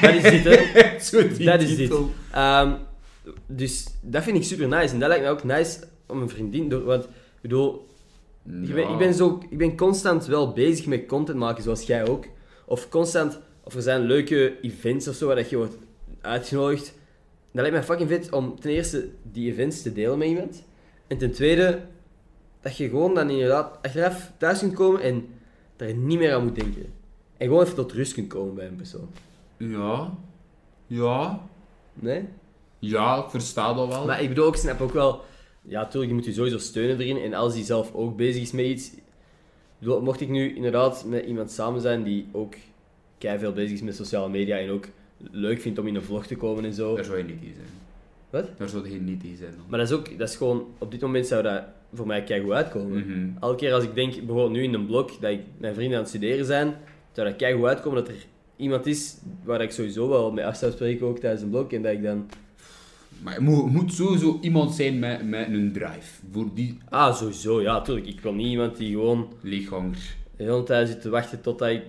Speaker 1: dat is dit, hè.
Speaker 2: zo die
Speaker 1: Dat is dit.
Speaker 2: titel.
Speaker 1: Ehm, dus dat vind ik super nice. En dat lijkt mij ook nice om een vriendin door. Want ik bedoel, ik, ben,
Speaker 2: Ja.
Speaker 1: ik, ben zo, ik ben constant wel bezig met content maken, zoals jij ook. Of constant, of er zijn leuke events of zo waar dat je wordt uitgenodigd. Dat lijkt mij fucking vet om ten eerste die events te delen met iemand. En ten tweede, dat je gewoon dan inderdaad achteraf thuis kunt komen en daar niet meer aan moet denken. En gewoon even tot rust kunt komen bij een persoon.
Speaker 2: Ja. Ja.
Speaker 1: Nee?
Speaker 2: Ja, ik versta dat wel.
Speaker 1: Maar ik bedoel, ik snap ook wel... Ja, tuurlijk, je moet je sowieso steunen erin. En als die zelf ook bezig is met iets... ik bedoel, mocht ik nu inderdaad met iemand samen zijn die ook veel bezig is met sociale media en ook leuk vindt om in een vlog te komen en zo.
Speaker 2: Daar zou je niet in zijn.
Speaker 1: Wat?
Speaker 2: Daar zou je niet in zijn dan.
Speaker 1: Maar dat is ook... Dat is gewoon... Op dit moment zou dat voor mij keigoed uitkomen.
Speaker 2: Mhm.
Speaker 1: Elke keer als ik denk, bijvoorbeeld nu in een blog, dat ik mijn vrienden aan het studeren zijn, zou dat keigoed uitkomen dat er iemand is waar ik sowieso wel mee af zou spreken, ook tijdens een blog. En dat ik dan...
Speaker 2: Maar je moet, moet sowieso iemand zijn met, met een drive. Voor die
Speaker 1: Ah, sowieso, ja, tuurlijk. Ik wil niet iemand die gewoon...
Speaker 2: leegganger.
Speaker 1: de hele tijd zitten wachten totdat ik...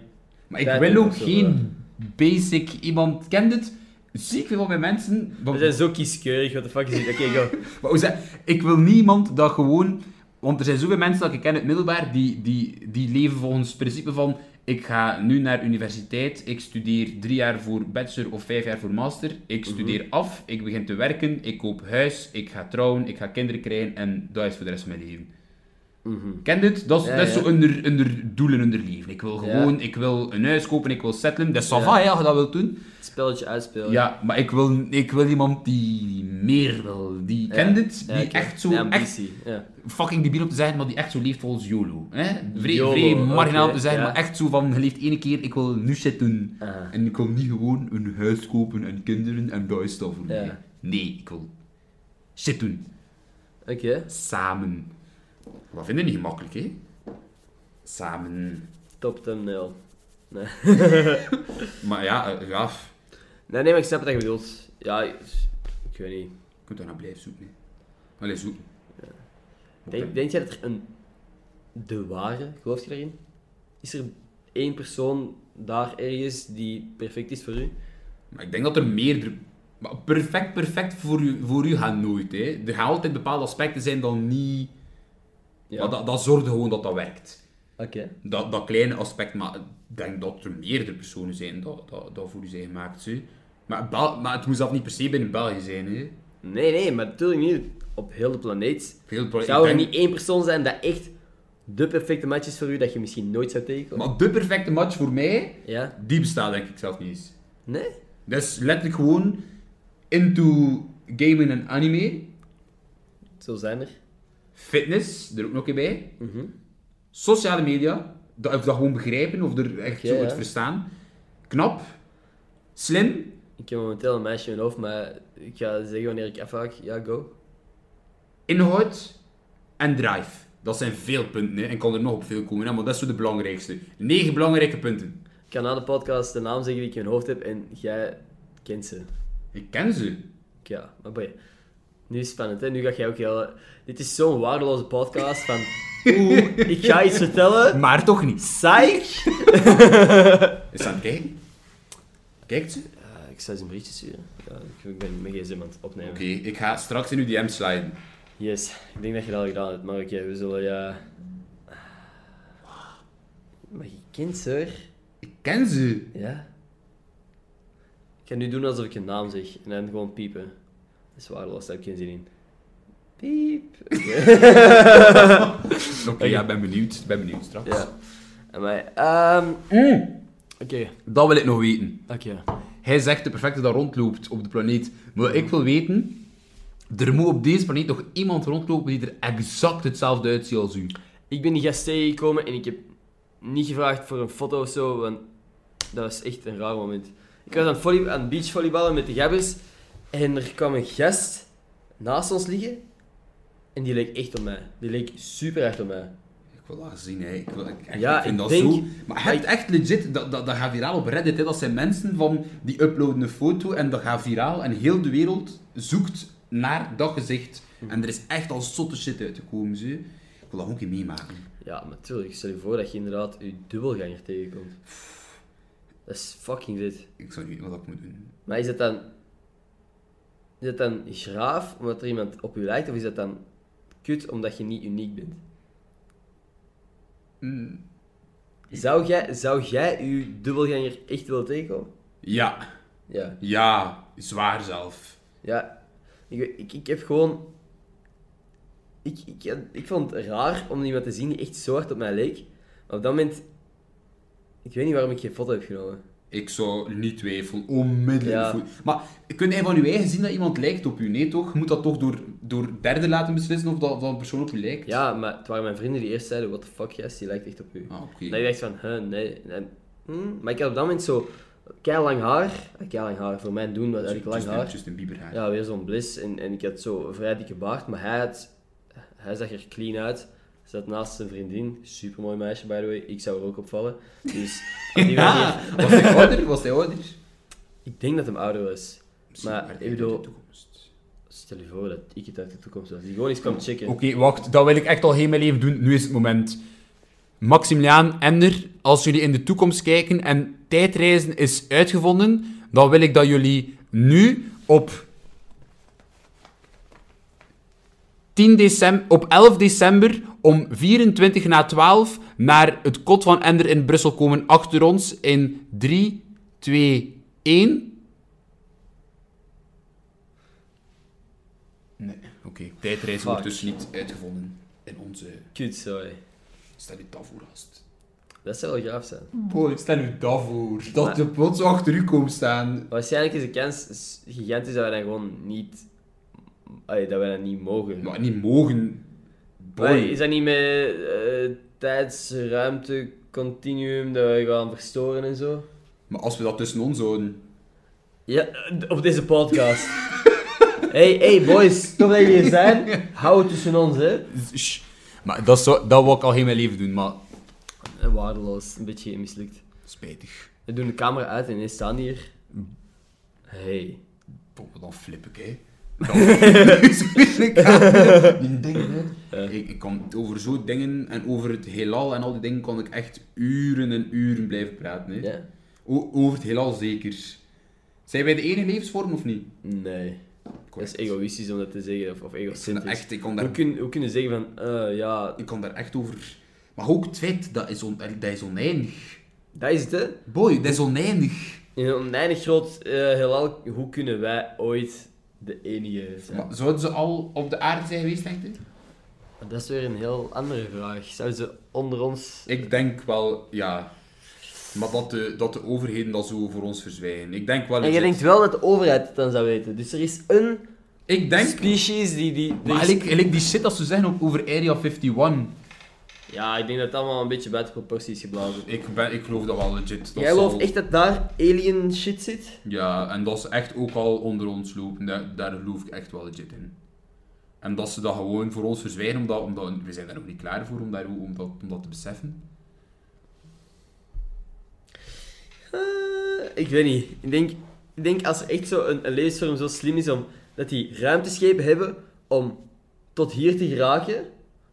Speaker 2: Maar ik
Speaker 1: Ja,
Speaker 2: wil
Speaker 1: dat
Speaker 2: ook
Speaker 1: is wel
Speaker 2: geen basic iemand. Kent het? ziek veel bij mensen...
Speaker 1: We zijn zo kieskeurig, what the fuck is dit? Oké, go.
Speaker 2: Maar hoe zeg- ik wil niemand dat gewoon... Want er zijn zoveel mensen dat ik ken uit het middelbaar, die, die, die leven volgens het principe van... Ik ga nu naar universiteit, ik studeer drie jaar voor bachelor of vijf jaar voor master. Ik studeer af, ik begin te werken, ik koop huis, ik ga trouwen, ik ga kinderen krijgen en dat is voor de rest van mijn leven.
Speaker 1: Mhm.
Speaker 2: Ken dit? Dat is,
Speaker 1: Ja,
Speaker 2: dat is
Speaker 1: ja.
Speaker 2: zo onder, onder doelen, onder leven. Ik wil
Speaker 1: Ja.
Speaker 2: gewoon, ik wil een huis kopen, ik wil settelen. Dat is
Speaker 1: Ja.
Speaker 2: ja. ja, als je dat wilt doen.
Speaker 1: Spelletje uitspelen.
Speaker 2: Ja, maar ik wil, ik wil iemand die meer wil. Die
Speaker 1: Ja.
Speaker 2: kent dit? Die
Speaker 1: Ja, oké.
Speaker 2: echt zo,
Speaker 1: De
Speaker 2: echt
Speaker 1: ambitie. Ja.
Speaker 2: fucking debiel om te zeggen, maar die echt zo leeft volgens YOLO. Hè? Vrij,
Speaker 1: YOLO,
Speaker 2: vrij marginaal
Speaker 1: oké,
Speaker 2: om te zeggen,
Speaker 1: ja.
Speaker 2: maar echt zo van, je leeft één keer, ik wil nu shit doen.
Speaker 1: Aha.
Speaker 2: En ik wil niet gewoon een huis kopen en kinderen en dat is dat voor
Speaker 1: Ja.
Speaker 2: mij. Nee, ik wil shit doen.
Speaker 1: Oké.
Speaker 2: Samen. Dat vind ik niet gemakkelijk, hè? Samen.
Speaker 1: Top thumbnail.
Speaker 2: Maar ja, eh, ja, pff,
Speaker 1: Nee, nee, maar ik snap wat je bedoelt. Ja, ik, ik weet niet.
Speaker 2: ik moet daar naar blijven zoeken. hè. Allee, zoeken.
Speaker 1: Denk, denk jij dat er een... De ware, geloof je daarin? Is er één persoon daar ergens die perfect is voor u?
Speaker 2: Maar ik denk dat er meerdere... maar Perfect, perfect voor u, voor u gaat nooit, hè. Er gaan altijd bepaalde aspecten zijn dan niet...
Speaker 1: Ja.
Speaker 2: Maar dat, dat zorgt gewoon dat dat werkt.
Speaker 1: Oké.
Speaker 2: Dat, dat kleine aspect, maar ik denk dat er meerdere personen zijn dat, dat, dat voor u zijn gemaakt. Hè. Maar, Bel- maar het moet zelf niet per se binnen België zijn. Hè.
Speaker 1: Nee, nee, maar natuurlijk niet op heel de planeet.
Speaker 2: Veel pro-
Speaker 1: Zou
Speaker 2: ik
Speaker 1: er
Speaker 2: denk-
Speaker 1: niet één persoon zijn dat echt de perfecte match is voor u, dat je misschien nooit zou tegenkomen?
Speaker 2: Maar de perfecte match voor mij,
Speaker 1: Ja?
Speaker 2: die bestaat denk ik zelf niet eens.
Speaker 1: Nee?
Speaker 2: Dat is letterlijk gewoon into gaming en anime,
Speaker 1: Zo zijn er.
Speaker 2: fitness, er ook nog een keer bij,
Speaker 1: Mhm.
Speaker 2: sociale media, dat, of dat gewoon begrijpen of er echt
Speaker 1: Oké,
Speaker 2: zo het
Speaker 1: ja.
Speaker 2: verstaan, knap, slim,
Speaker 1: Ik heb momenteel een meisje in mijn hoofd, maar ik ga zeggen wanneer ik afhaak. Ja, go.
Speaker 2: inhoud en drive. Dat zijn veel punten, hè. en kan er nog op veel komen, hè, maar dat is zo de belangrijkste. Negen belangrijke punten.
Speaker 1: Ik kan na de podcast de naam zeggen die ik in mijn hoofd heb en jij kent ze.
Speaker 2: Ik ken ze.
Speaker 1: Ja, maar boy. Nu is het spannend, hè? Nu ga jij ook heel... Dit is zo'n waardeloze podcast van... Oeh, ik ga iets vertellen.
Speaker 2: Maar toch niet.
Speaker 1: Psych!
Speaker 2: Is ze aan het kijken? Kijkt ze?
Speaker 1: Eh, ik zou ze een berichtje sturen. Ja, ik- ik ben mijn gsm aan het opnemen.
Speaker 2: Oké, ik ga straks in uw DM sliden.
Speaker 1: Yes, ik denk dat je dat al gedaan hebt, maar oké, we zullen ja. Maar je kind, hoor.
Speaker 2: Ik ken ze.
Speaker 1: Ja. Ik ga nu doen alsof ik je naam zeg en dan gewoon piepen. Dat is waardeloos, daar heb ik geen zin in. Piep.
Speaker 2: Oké, ja, ben benieuwd. Ben benieuwd straks.
Speaker 1: Ja. En mij. ehm, Oké,
Speaker 2: Dat wil ik nog weten.
Speaker 1: dank je.
Speaker 2: Hij zegt de perfecte dat rondloopt op de planeet. Maar ik wil weten, er moet op deze planeet nog iemand rondlopen die er exact hetzelfde uitziet als u.
Speaker 1: Ik ben die gast tegengekomen en ik heb niet gevraagd voor een foto of zo, want dat was echt een raar moment. Ik was aan het, volley- aan het beachvolleyballen met de gabbers en er kwam een gast naast ons liggen en die leek echt op mij. Die leek super echt op mij.
Speaker 2: Ik wil dat gezien, hè. Ik, wil, ik, echt,
Speaker 1: Ja,
Speaker 2: ik vind
Speaker 1: ik
Speaker 2: dat
Speaker 1: denk-
Speaker 2: zo... Maar je hebt echt legit... Dat, dat, dat gaat viraal op Reddit, hè. Dat zijn mensen van... Die uploaden een foto en dat gaat viraal. En heel de wereld zoekt naar dat gezicht. En er is echt al zotte shit uitgekomen, zie. Ik wil dat ook een keer meemaken.
Speaker 1: Ja, maar tuurlijk, stel je voor dat je inderdaad je dubbelganger tegenkomt. Dat is fucking dit.
Speaker 2: Ik zou niet weten wat ik moet doen.
Speaker 1: Maar is dat dan... Is dat dan graaf omdat er iemand op je lijkt, of is dat dan kut omdat je niet uniek bent? Zou jij, zou jij uw dubbelganger echt willen tegenkomen?
Speaker 2: Ja.
Speaker 1: Ja.
Speaker 2: Ja. Zwaar zelf.
Speaker 1: Ja. Ik, weet- ik, ik heb gewoon... Ik, ik, ik vond het raar om iemand te zien die echt zo hard op mij leek. Maar op dat moment... Ik weet niet waarom ik geen foto heb genomen.
Speaker 2: Ik zou niet twijfelen, onmiddellijk.
Speaker 1: Ja.
Speaker 2: voel- Maar kun jij van je eigen zien dat iemand lijkt op je? Nee, toch? Je moet dat toch door, door derden laten beslissen of dat, of dat een persoon op je lijkt?
Speaker 1: Ja, maar het waren mijn vrienden die eerst zeiden, what the fuck, yes, die lijkt echt op u.
Speaker 2: Ah, oké.
Speaker 1: Dat ik dacht van, huh, nee. En, hm, Maar ik had op dat moment zo... lang haar. lang haar, voor mij doen, wat eigenlijk lang
Speaker 2: Justin-
Speaker 1: haar.
Speaker 2: Justin Bieber haar.
Speaker 1: Ja, weer zo'n blis. En, en ik had zo een vrij dikke baard, maar hij, had, hij zag er clean uit. Zat naast zijn vriendin, supermooi meisje by the way. Ik zou er ook opvallen. Dus op die manier,
Speaker 2: Was hij ouder? Was hij ouder?
Speaker 1: ik denk dat hem ouder was. Maar,
Speaker 2: Misschien
Speaker 1: ik bedoel-
Speaker 2: uit de toekomst.
Speaker 1: Stel je voor dat ik het uit de toekomst was. Die gewoon eens kwam checken.
Speaker 2: Oké, wacht. Dat wil ik echt al heel mijn leven doen. Nu is het moment. Maximiliaan, Ender, als jullie in de toekomst kijken en tijdreizen is uitgevonden, dan wil ik dat jullie nu op 10 december, op 11 december om 24 na 12 naar het kot van Ender in Brussel komen achter ons in 3, 2, 1. Nee, oké. Tijdreis wordt
Speaker 1: Fuck.
Speaker 2: dus niet uitgevonden in onze...
Speaker 1: Kut, sorry.
Speaker 2: Stel je daarvoor gast.
Speaker 1: Dat zou wel gaaf zijn.
Speaker 2: Boy, stel u daarvoor.
Speaker 1: Maar-
Speaker 2: Dat de plots achter u komt staan.
Speaker 1: Waarschijnlijk is de kans s- gigantisch dat wij dan gewoon niet... Allee, dat wij dat niet mogen.
Speaker 2: Maar niet mogen. Boy.
Speaker 1: Maar is dat niet met eh, tijds, ruimte, continuum, dat wij gaan verstoren en zo?
Speaker 2: Maar als we dat tussen ons houden.
Speaker 1: Ja, eh, op deze podcast. hey, hey boys, tof dat jullie hier zijn. Hou het tussen ons, hè.
Speaker 2: Shh. Maar dat, zou, dat wil ik al heel mijn leven doen, maar
Speaker 1: En Eh, waardeloos, een beetje mislukt.
Speaker 2: spijtig.
Speaker 1: We doen de camera uit en ineens staan hier. Hey.
Speaker 2: Boh, dan flip ik, hè. Dan ik ga- die dingen, hè. Ik, ik kan over zo'n dingen en over het heelal en al die dingen kon ik echt uren en uren blijven praten. Hè.
Speaker 1: Ja?
Speaker 2: O- over het heelal zeker. Zijn wij de enige levensvorm of niet?
Speaker 1: Nee. Dat is egoïstisch om dat te zeggen, of, of
Speaker 2: Ik kon
Speaker 1: egocentrisch.
Speaker 2: Echt, ik kon daar
Speaker 1: Hoe kun, hoe kun je zeggen van, eh, ja,
Speaker 2: Ik kan daar echt over. Maar ook het feit, dat is, on, dat is oneindig.
Speaker 1: dat is het, hè?
Speaker 2: Boy, dat is oneindig.
Speaker 1: In een oneindig groot eh, heelal, hoe kunnen wij ooit de enige zijn?
Speaker 2: Maar zouden ze al op de aarde zijn geweest, denk je?
Speaker 1: Maar dat is weer een heel andere vraag. Zouden ze onder ons...
Speaker 2: Ik denk wel, ja. Maar dat de, dat de overheden dat zo voor ons verzwijgen. Ik denk wel...
Speaker 1: En je denkt wel dat de overheid het dan zou weten. Dus er is een
Speaker 2: Ik denk...
Speaker 1: species die... die er
Speaker 2: Maar
Speaker 1: is-
Speaker 2: eigenlijk, eigenlijk die shit dat ze zeggen op- over Area 51.
Speaker 1: Ja, ik denk dat het allemaal een beetje buiten proportie is geblazen.
Speaker 2: Ik, ben, ik geloof dat wel legit. Dat
Speaker 1: Jij gelooft
Speaker 2: zal-
Speaker 1: echt dat daar alien shit zit?
Speaker 2: Ja, en dat ze echt ook al onder ons lopen. Daar, daar geloof ik echt wel legit in. En dat ze dat gewoon voor ons verzwijgen, omdat, omdat we zijn daar ook niet klaar voor om, daar, om, dat, om dat te beseffen.
Speaker 1: Eh, ik weet niet. Ik denk, ik denk als er echt zo een, een levensvorm zo slim is om... Dat die ruimteschepen hebben om tot hier te geraken.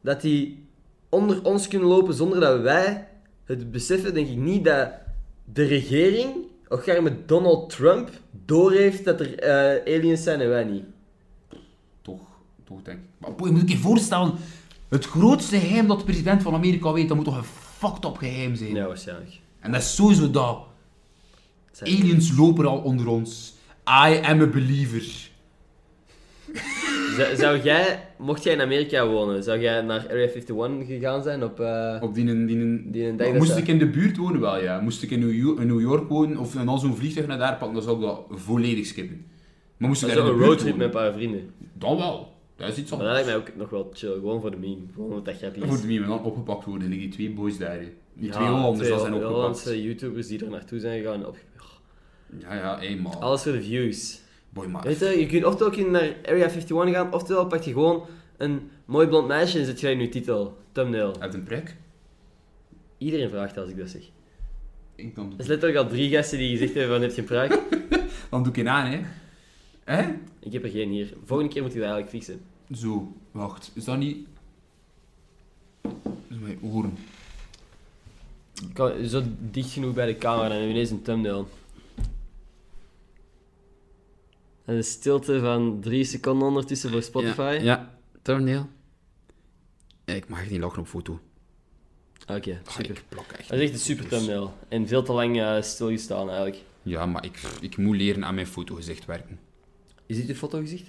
Speaker 1: Dat die onder ons kunnen lopen zonder dat wij het beseffen. Denk ik niet dat de regering, of gaar met Donald Trump, doorheeft dat er eh, aliens zijn en wij niet.
Speaker 2: Toch, toch denk ik. Maar boy, je moet ik je voorstellen, het grootste geheim dat de president van Amerika weet, dat moet toch een fucked up geheim zijn.
Speaker 1: Ja, waarschijnlijk.
Speaker 2: En dat is sowieso dat.
Speaker 1: Zijn-
Speaker 2: Aliens lopen al onder ons. I am a believer.
Speaker 1: Zou, zou jij, mocht jij in Amerika wonen, zou jij naar Area 51 gegaan zijn op... eh,
Speaker 2: Op die, die,
Speaker 1: Die een dag
Speaker 2: Maar
Speaker 1: dat
Speaker 2: moest
Speaker 1: ze-
Speaker 2: ik in de buurt wonen wel, ja. Moest ik in New York, in New York wonen of en dan zo'n vliegtuig naar daar pakken, dan zou ik dat volledig skippen. Maar moest ik
Speaker 1: Zo
Speaker 2: daar in
Speaker 1: een
Speaker 2: de buurt
Speaker 1: roadtrip
Speaker 2: wonen,
Speaker 1: met een paar vrienden.
Speaker 2: dan wel. Dat is iets
Speaker 1: Maar dat
Speaker 2: anders.
Speaker 1: lijkt mij ook nog wel chill, gewoon voor de meme. Gewoon omdat dat grappig
Speaker 2: Dan moet
Speaker 1: is.
Speaker 2: wie dan opgepakt worden, liggen die twee boys daar. hè. Die
Speaker 1: Ja,
Speaker 2: twee Hollanders dat zijn opgepakt.
Speaker 1: Hollandse YouTubers die er naartoe zijn gegaan. en opge- Oh,
Speaker 2: Ja, ja, hé, maar...
Speaker 1: Alles voor de views.
Speaker 2: Boy, maar...
Speaker 1: Weet je, je kunt oftewel kun je naar Area 51 gaan, oftewel pak je gewoon een mooi blond meisje en zet je dat in je titel. Thumbnail.
Speaker 2: Heb je een prik?
Speaker 1: Iedereen vraagt dat als ik dat zeg. Er
Speaker 2: Ik dan,
Speaker 1: is letterlijk al drie gasten die gezegd hebben van heb je een vraag?
Speaker 2: dan doe ik een aan, hè. Hè?
Speaker 1: Ik heb er geen hier. Volgende keer moet je dat eigenlijk fixen.
Speaker 2: Zo, wacht. Is dat niet... Dat is mijn oren.
Speaker 1: Ik kan zo dicht genoeg bij de camera, dan heb je ineens een thumbnail. En de stilte van drie seconden ondertussen voor Spotify.
Speaker 2: Ja, ja. thumbnail. Ik mag niet lachen op foto.
Speaker 1: Oké, super.
Speaker 2: Ik plak echt
Speaker 1: Dat is echt een super thumbnail. En veel te lang eh, stilgestaan eigenlijk.
Speaker 2: Ja, maar ik, ik moet leren aan mijn fotogezicht werken.
Speaker 1: Is dit je fotogezicht?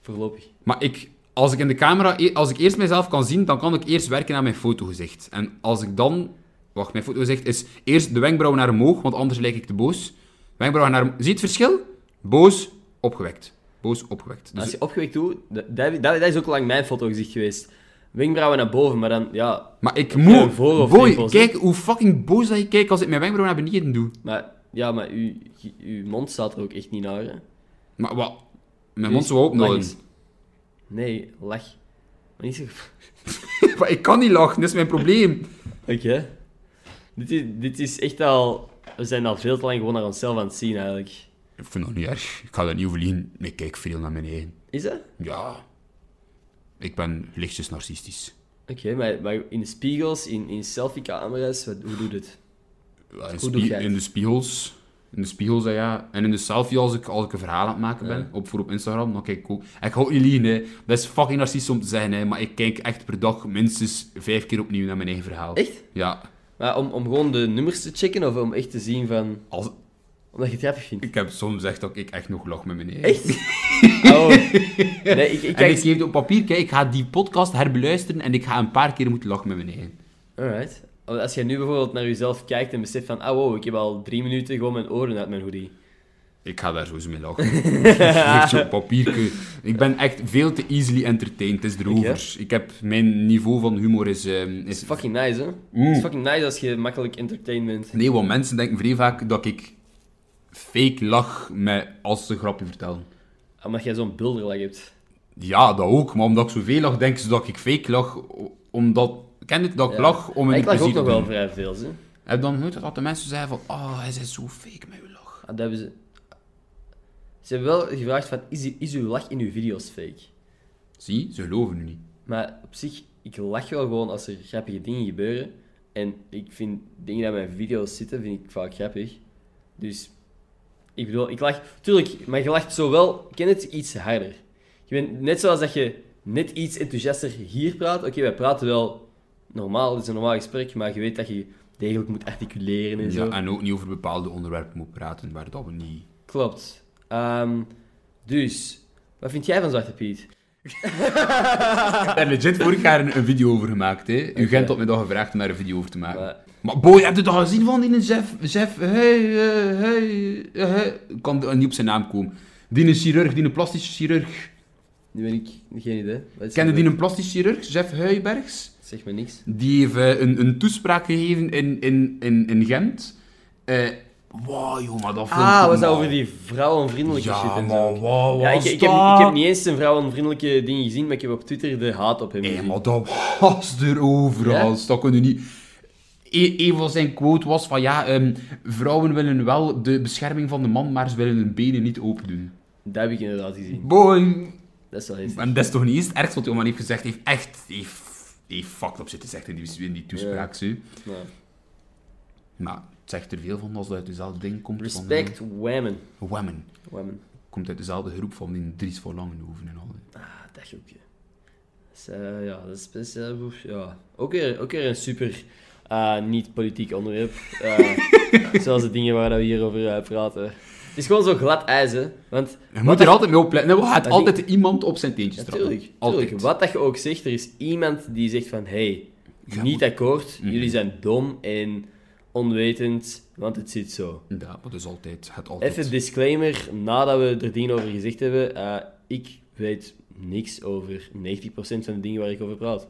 Speaker 1: Voorlopig.
Speaker 2: Maar ik, als ik in de camera, e- als ik eerst mezelf kan zien, dan kan ik eerst werken aan mijn fotogezicht. En als ik dan... Wacht, mijn fotogezicht is eerst de wenkbrauwen naar omhoog, want anders lijk ik te boos. Wenkbrauwen naar omhoog. Zie je het verschil? Boos, opgewekt. Boos, opgewekt. Dus
Speaker 1: Als je opgewekt doet, dat, dat, dat- dat is ook lang mijn fotogezicht geweest. Wenkbrauwen naar boven, maar dan, ja...
Speaker 2: Maar ik
Speaker 1: Ja,
Speaker 2: moet...
Speaker 1: voor- of
Speaker 2: Boy,
Speaker 1: rimpels, hè?
Speaker 2: kijk hoe fucking boos dat ik kijk als ik mijn wenkbrauw naar beneden doe.
Speaker 1: Maar, ja, maar uw, uw mond staat er ook echt niet naar, hè?
Speaker 2: Maar wat? Mijn
Speaker 1: Uw
Speaker 2: mond zou
Speaker 1: lach
Speaker 2: opnoden.
Speaker 1: is- Nee, lach. Maar niet zo...
Speaker 2: maar ik kan niet lachen, dat is mijn probleem.
Speaker 1: Oké. Dit, is, dit is echt al... We zijn al veel te lang gewoon naar onszelf aan het zien, eigenlijk.
Speaker 2: Ik vind dat niet erg. Ik ga dat niet overliegen. Ik kijk veel naar mijn eigen.
Speaker 1: Is dat?
Speaker 2: Ja. Ik ben lichtjes narcistisch.
Speaker 1: Oké, maar, maar in de spiegels, in, in selfie-camera's, wat- hoe doet het?
Speaker 2: Ja, In,
Speaker 1: Hoe
Speaker 2: spie-
Speaker 1: doe jij het?
Speaker 2: in de spiegels. In de spiegel zei ja. En in de selfie als ik, als ik een verhaal aan het maken ben. Op, voor op Instagram. Dan kijk ik ook. En ik hou niet liegen, hè. Dat is fucking narcistisch om te zeggen, hè. Maar ik kijk echt per dag minstens vijf keer opnieuw naar mijn eigen verhaal.
Speaker 1: Echt?
Speaker 2: Ja.
Speaker 1: Maar om, om gewoon de nummers te checken of om echt te zien van...
Speaker 2: Als,
Speaker 1: Omdat je het grappig vindt.
Speaker 2: ik heb soms echt dat ik echt nog lach met mijn eigen.
Speaker 1: Echt? Oh. Nee, ik, ik
Speaker 2: En
Speaker 1: kijk...
Speaker 2: ik geef het op papier, kijk, ik ga die podcast herbeluisteren en ik ga een paar keer moeten lachen met mijn eigen.
Speaker 1: Alright. Als jij nu bijvoorbeeld naar jezelf kijkt en beseft van... Ah, wow, ik heb al drie minuten gewoon mijn oren uit mijn hoodie.
Speaker 2: Ik ga daar sowieso mee lachen. Echt Zo'n papierke. Ik ben echt veel te easily entertained, het is erover. Ik heb, mijn niveau van humor is... ehm, is
Speaker 1: is fucking nice, hè?
Speaker 2: Mm.
Speaker 1: Het is fucking nice als je makkelijk entertained bent.
Speaker 2: Nee, want mensen denken vrij vaak dat ik fake lach met, als ze een grapje vertellen.
Speaker 1: Omdat jij zo'n bulderlag hebt.
Speaker 2: Ja, dat ook, maar omdat ik zoveel lach, denken ze dat ik fake lach, o- omdat... Ken ik dat ik
Speaker 1: Ja.
Speaker 2: lach om
Speaker 1: Maar
Speaker 2: een
Speaker 1: ik lag ook
Speaker 2: plezier te
Speaker 1: nog wel
Speaker 2: doen?
Speaker 1: vrij veel, hè?
Speaker 2: Heb dan nooit dat de mensen zeggen van, oh, hij is zo fake met uw lach.
Speaker 1: Ah, dat hebben ze... Ze hebben wel gevraagd van... Is, is uw lach in uw video's fake?
Speaker 2: Zie, ze geloven nu niet.
Speaker 1: Maar op zich, ik lach wel gewoon als er grappige dingen gebeuren. En ik vind dingen die in mijn video's zitten, vind ik vaak grappig. Dus, ik bedoel, ik lach... Tuurlijk, maar je lacht zowel... Ik ken het iets harder. Je bent net zoals dat je net iets enthousiaster hier praat. Oké, wij praten wel normaal, het is een normaal gesprek. Maar je weet dat je degelijk moet articuleren en zo.
Speaker 2: Ja, en ook niet over bepaalde onderwerpen moet praten waar dat we niet...
Speaker 1: Klopt. Ehm, dus, wat vind jij van Zwarte Piet?
Speaker 2: Ik heb daar legit vorig jaar een, een video over gemaakt, hè. U Gent had mij dat gevraagd om daar een video over te maken.
Speaker 1: Maar-
Speaker 2: Maar boy, heb je dat gezien van die Jeff? Jeff, hey, eh, hey, eh, hey. Ik kan er niet op zijn naam komen. Die een chirurg, die een plastische chirurg.
Speaker 1: Nu ben ik geen idee. Wat is
Speaker 2: Kende
Speaker 1: dat?
Speaker 2: die een plastische chirurg, Jeff Huybergs?
Speaker 1: Zeg me niks.
Speaker 2: Die heeft eh, een, een toespraak gegeven in, in, in, in Gent. Eh wow, joh, maar dat filmpje...
Speaker 1: Ah, was dat
Speaker 2: man.
Speaker 1: over die vrouwenvriendelijke shit
Speaker 2: Ja,
Speaker 1: en
Speaker 2: maar
Speaker 1: zo?
Speaker 2: wow,
Speaker 1: Ja, ik,
Speaker 2: was
Speaker 1: ik, heb,
Speaker 2: dat?
Speaker 1: ik heb niet eens een vrouwenvriendelijke ding gezien, maar ik heb op Twitter de haat op hem
Speaker 2: Hé,
Speaker 1: gezien.
Speaker 2: maar dat was er overal.
Speaker 1: Ja?
Speaker 2: Dat kon je niet... E- een van zijn quote was van ja, ehm, vrouwen willen wel de bescherming van de man, maar ze willen hun benen niet open doen.
Speaker 1: Dat heb ik inderdaad gezien.
Speaker 2: Boy.
Speaker 1: Dat is wel eens.
Speaker 2: En dat is toch niet eens het ergste wat die man heeft gezegd. Hij heeft echt... Hij heeft- hij heeft fucked op zitten zeggen in die, in die toespraak. zo.
Speaker 1: Nou,
Speaker 2: Maar het zegt er veel van als dat uit dezelfde ding komt. van,
Speaker 1: Respect women.
Speaker 2: eh, women.
Speaker 1: women.
Speaker 2: Komt uit dezelfde groep van die Dries voor Langenhoven en al.
Speaker 1: Ah, dat groepje. Dus, eh, ja, dat is best... eh, boef, ja. Ook, weer, ook weer een super eh, niet-politiek onderwerp. Eh, zoals de dingen waar dat we hier over eh, praten. Het is gewoon zo glad ijs, hè. Want
Speaker 2: Je moet er altijd mee opletten. hè, want Je gaat
Speaker 1: Maar die-
Speaker 2: altijd iemand op zijn teentjes trappen.
Speaker 1: Natuurlijk,
Speaker 2: Altijd.
Speaker 1: Wat dat je ook zegt, er is iemand die zegt van, hey,
Speaker 2: Ja,
Speaker 1: niet akkoord,
Speaker 2: Mhm.
Speaker 1: jullie zijn dom en onwetend, want het zit zo.
Speaker 2: Ja, maar dat is altijd. Het altijd.
Speaker 1: Even disclaimer, nadat we er dingen over gezegd hebben, eh, ik weet niks over 90% van de dingen waar ik over praat.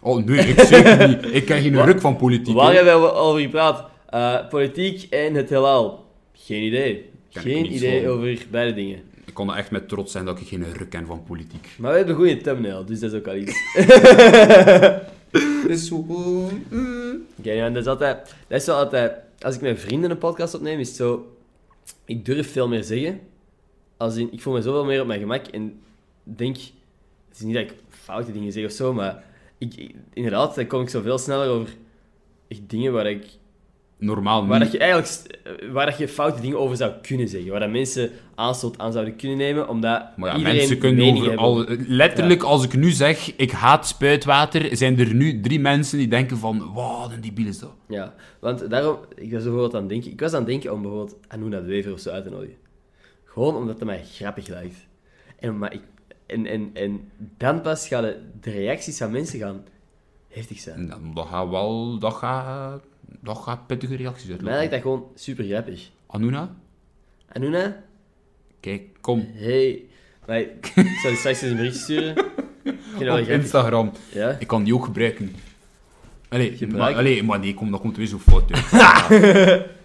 Speaker 2: Oh nee, ik zeker niet. Ik ken geen ruk van politiek.
Speaker 1: Waar
Speaker 2: hè.
Speaker 1: hebben we over gepraat? Eh, politiek en het heelal. Geen idee.
Speaker 2: Ken ik
Speaker 1: Geen
Speaker 2: niets
Speaker 1: idee
Speaker 2: van.
Speaker 1: over beide dingen.
Speaker 2: Ik kon er echt met trots zijn dat ik geen ruk ken van politiek.
Speaker 1: Maar we hebben een goede thumbnail, dus dat is ook al iets.
Speaker 2: Dat is zo... mm.
Speaker 1: Oké, ja, en dat is altijd... Dat is wel altijd... Als ik met vrienden een podcast opneem, is het zo... Ik durf veel meer zeggen. Als in, ik voel me zoveel meer op mijn gemak en denk... Het is niet dat ik foute dingen zeg of zo, maar... Ik, ik- inderdaad, dan kom ik zoveel sneller over echt dingen waar, ik,
Speaker 2: Normaal
Speaker 1: waar
Speaker 2: niet.
Speaker 1: dat je eigenlijk... s- eh, Waar dat je foute dingen over zou kunnen zeggen. Waar dat mensen aanstoot aan zouden kunnen nemen, omdat
Speaker 2: Maar ja,
Speaker 1: iedereen
Speaker 2: mensen kunnen
Speaker 1: meningen
Speaker 2: over
Speaker 1: hebben.
Speaker 2: al... Letterlijk, als ik nu zeg, ik haat spuitwater, zijn er nu drie mensen die denken van, wauw, een debiel is dat.
Speaker 1: Ja, want daarom, ik was bijvoorbeeld aan het denken, ik was aan het denken om bijvoorbeeld Anuna de Wever of zo uit te nodigen. Gewoon omdat het mij grappig lijkt. En, maar ik, en, en, en dan pas gaan de, de reacties van mensen gaan heftig zijn.
Speaker 2: En dan- dat gaat wel... Dat gaat... Dat gaat pittige reacties
Speaker 1: Mij lijkt
Speaker 2: uitlopen.
Speaker 1: dat gewoon super grappig.
Speaker 2: Anuna?
Speaker 1: Anuna,
Speaker 2: Kijk, kom.
Speaker 1: hey. Maar ik ik zal je straks eens een berichtje sturen. Ik vind dat wel
Speaker 2: Op
Speaker 1: grappig.
Speaker 2: Instagram.
Speaker 1: Ja?
Speaker 2: Ik kan die ook gebruiken. Allee,
Speaker 1: Gebruik?
Speaker 2: maar, allee, maar nee, kom, dat komt weer zo fout uit. Ja.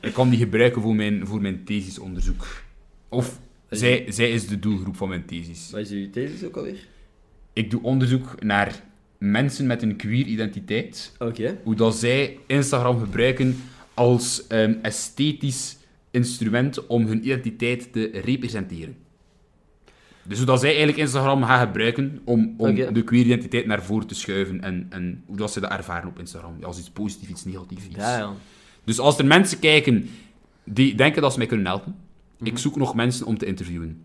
Speaker 2: ik kan die gebruiken voor mijn, voor mijn thesisonderzoek. Of, zij, zij is de doelgroep van mijn thesis.
Speaker 1: Wat is uw thesis ook alweer?
Speaker 2: Ik doe onderzoek naar mensen met een queer identiteit.
Speaker 1: Oké.
Speaker 2: Hoe dat zij Instagram gebruiken als ehm, esthetisch instrument om hun identiteit te representeren. Dus hoe dat zij eigenlijk Instagram gaan gebruiken om, om
Speaker 1: Oké.
Speaker 2: de queer identiteit naar voren te schuiven. En, en hoe dat ze dat ervaren op Instagram. Als iets positiefs, iets negatiefs. iets.
Speaker 1: Ja, ja.
Speaker 2: Dus als er mensen kijken die denken dat ze mij kunnen helpen. Ik zoek nog mensen om te interviewen.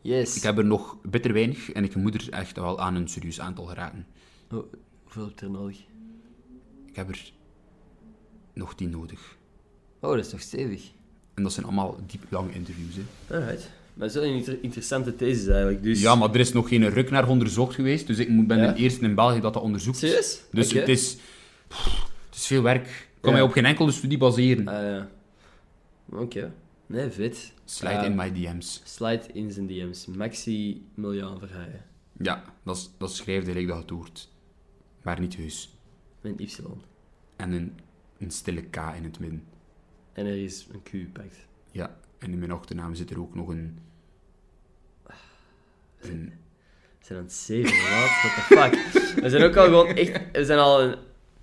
Speaker 1: Yes.
Speaker 2: Ik heb er nog bitter weinig en ik moet er echt wel aan een serieus aantal geraken.
Speaker 1: Oh, hoeveel heb je er nodig?
Speaker 2: Ik heb er nog tien nodig.
Speaker 1: Oh, dat is toch stevig.
Speaker 2: En dat zijn allemaal diep lange interviews. Hè.
Speaker 1: Alright. Maar het is wel een inter- interessante thesis eigenlijk. Dus...
Speaker 2: Ja, maar er is nog geen ruk naar onderzocht geweest, dus ik moet- ben
Speaker 1: Ja.
Speaker 2: de eerste in België dat dat onderzoekt.
Speaker 1: Serieus?
Speaker 2: Dus
Speaker 1: Oké.
Speaker 2: het, is, pff, het is veel werk. Ik
Speaker 1: Ja.
Speaker 2: kan mij op geen enkele studie baseren.
Speaker 1: Ah, ja. Oké. Nee, vet.
Speaker 2: Slide
Speaker 1: Ja.
Speaker 2: in my DM's.
Speaker 1: Slide in zijn DM's. Maxi Miljan Verheijen.
Speaker 2: Ja, dat, is- dat schrijft gelijk dat je het hoort. Maar niet heus.
Speaker 1: Met een Y.
Speaker 2: En een, een stille K in het midden.
Speaker 1: En er is een Q gepakt.
Speaker 2: Ja, en in mijn achternaam zit er ook nog een... een
Speaker 1: We zijn aan het zeven, wat? What the fuck? We zijn ook al gewoon echt... We zijn al een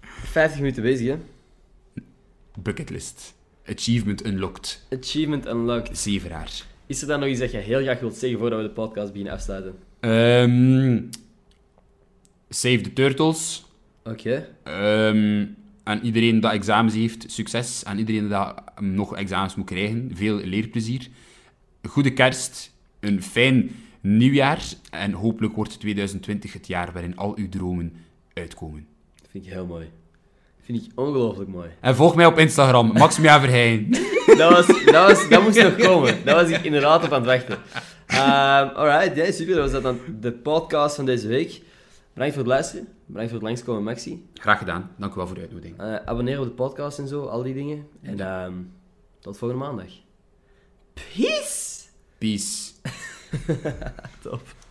Speaker 1: 50 minuten bezig, hè?
Speaker 2: bucketlist. Achievement unlocked.
Speaker 1: Achievement unlocked.
Speaker 2: Zeveraar.
Speaker 1: Is er dan nog iets dat je heel graag wilt zeggen voordat we de podcast beginnen afsluiten?
Speaker 2: Ehm, save the turtles.
Speaker 1: Oké.
Speaker 2: Ehm, aan iedereen dat examens heeft, succes. Aan iedereen dat mm, nog examens moet krijgen, veel leerplezier. Goede kerst, een fijn nieuwjaar. En hopelijk wordt 2020 het jaar waarin al uw dromen uitkomen.
Speaker 1: Dat vind ik heel mooi. Dat vind ik ongelooflijk mooi.
Speaker 2: En volg mij op Instagram, Maximia Verheyen.
Speaker 1: Dat, was, dat, was, dat moest nog komen. Dat was ik inderdaad op aan het wachten. Ehm, alright, ja, super. Dat was dat dan de podcast van deze week. Bedankt voor het luisteren. Bedankt voor het langskomen, Maxi.
Speaker 2: Graag gedaan, dank u wel voor de uitnodiging.
Speaker 1: Eh, abonneer op de podcast en zo, al die dingen. En ehm, tot volgende maandag. Peace!
Speaker 2: Peace.
Speaker 1: Top.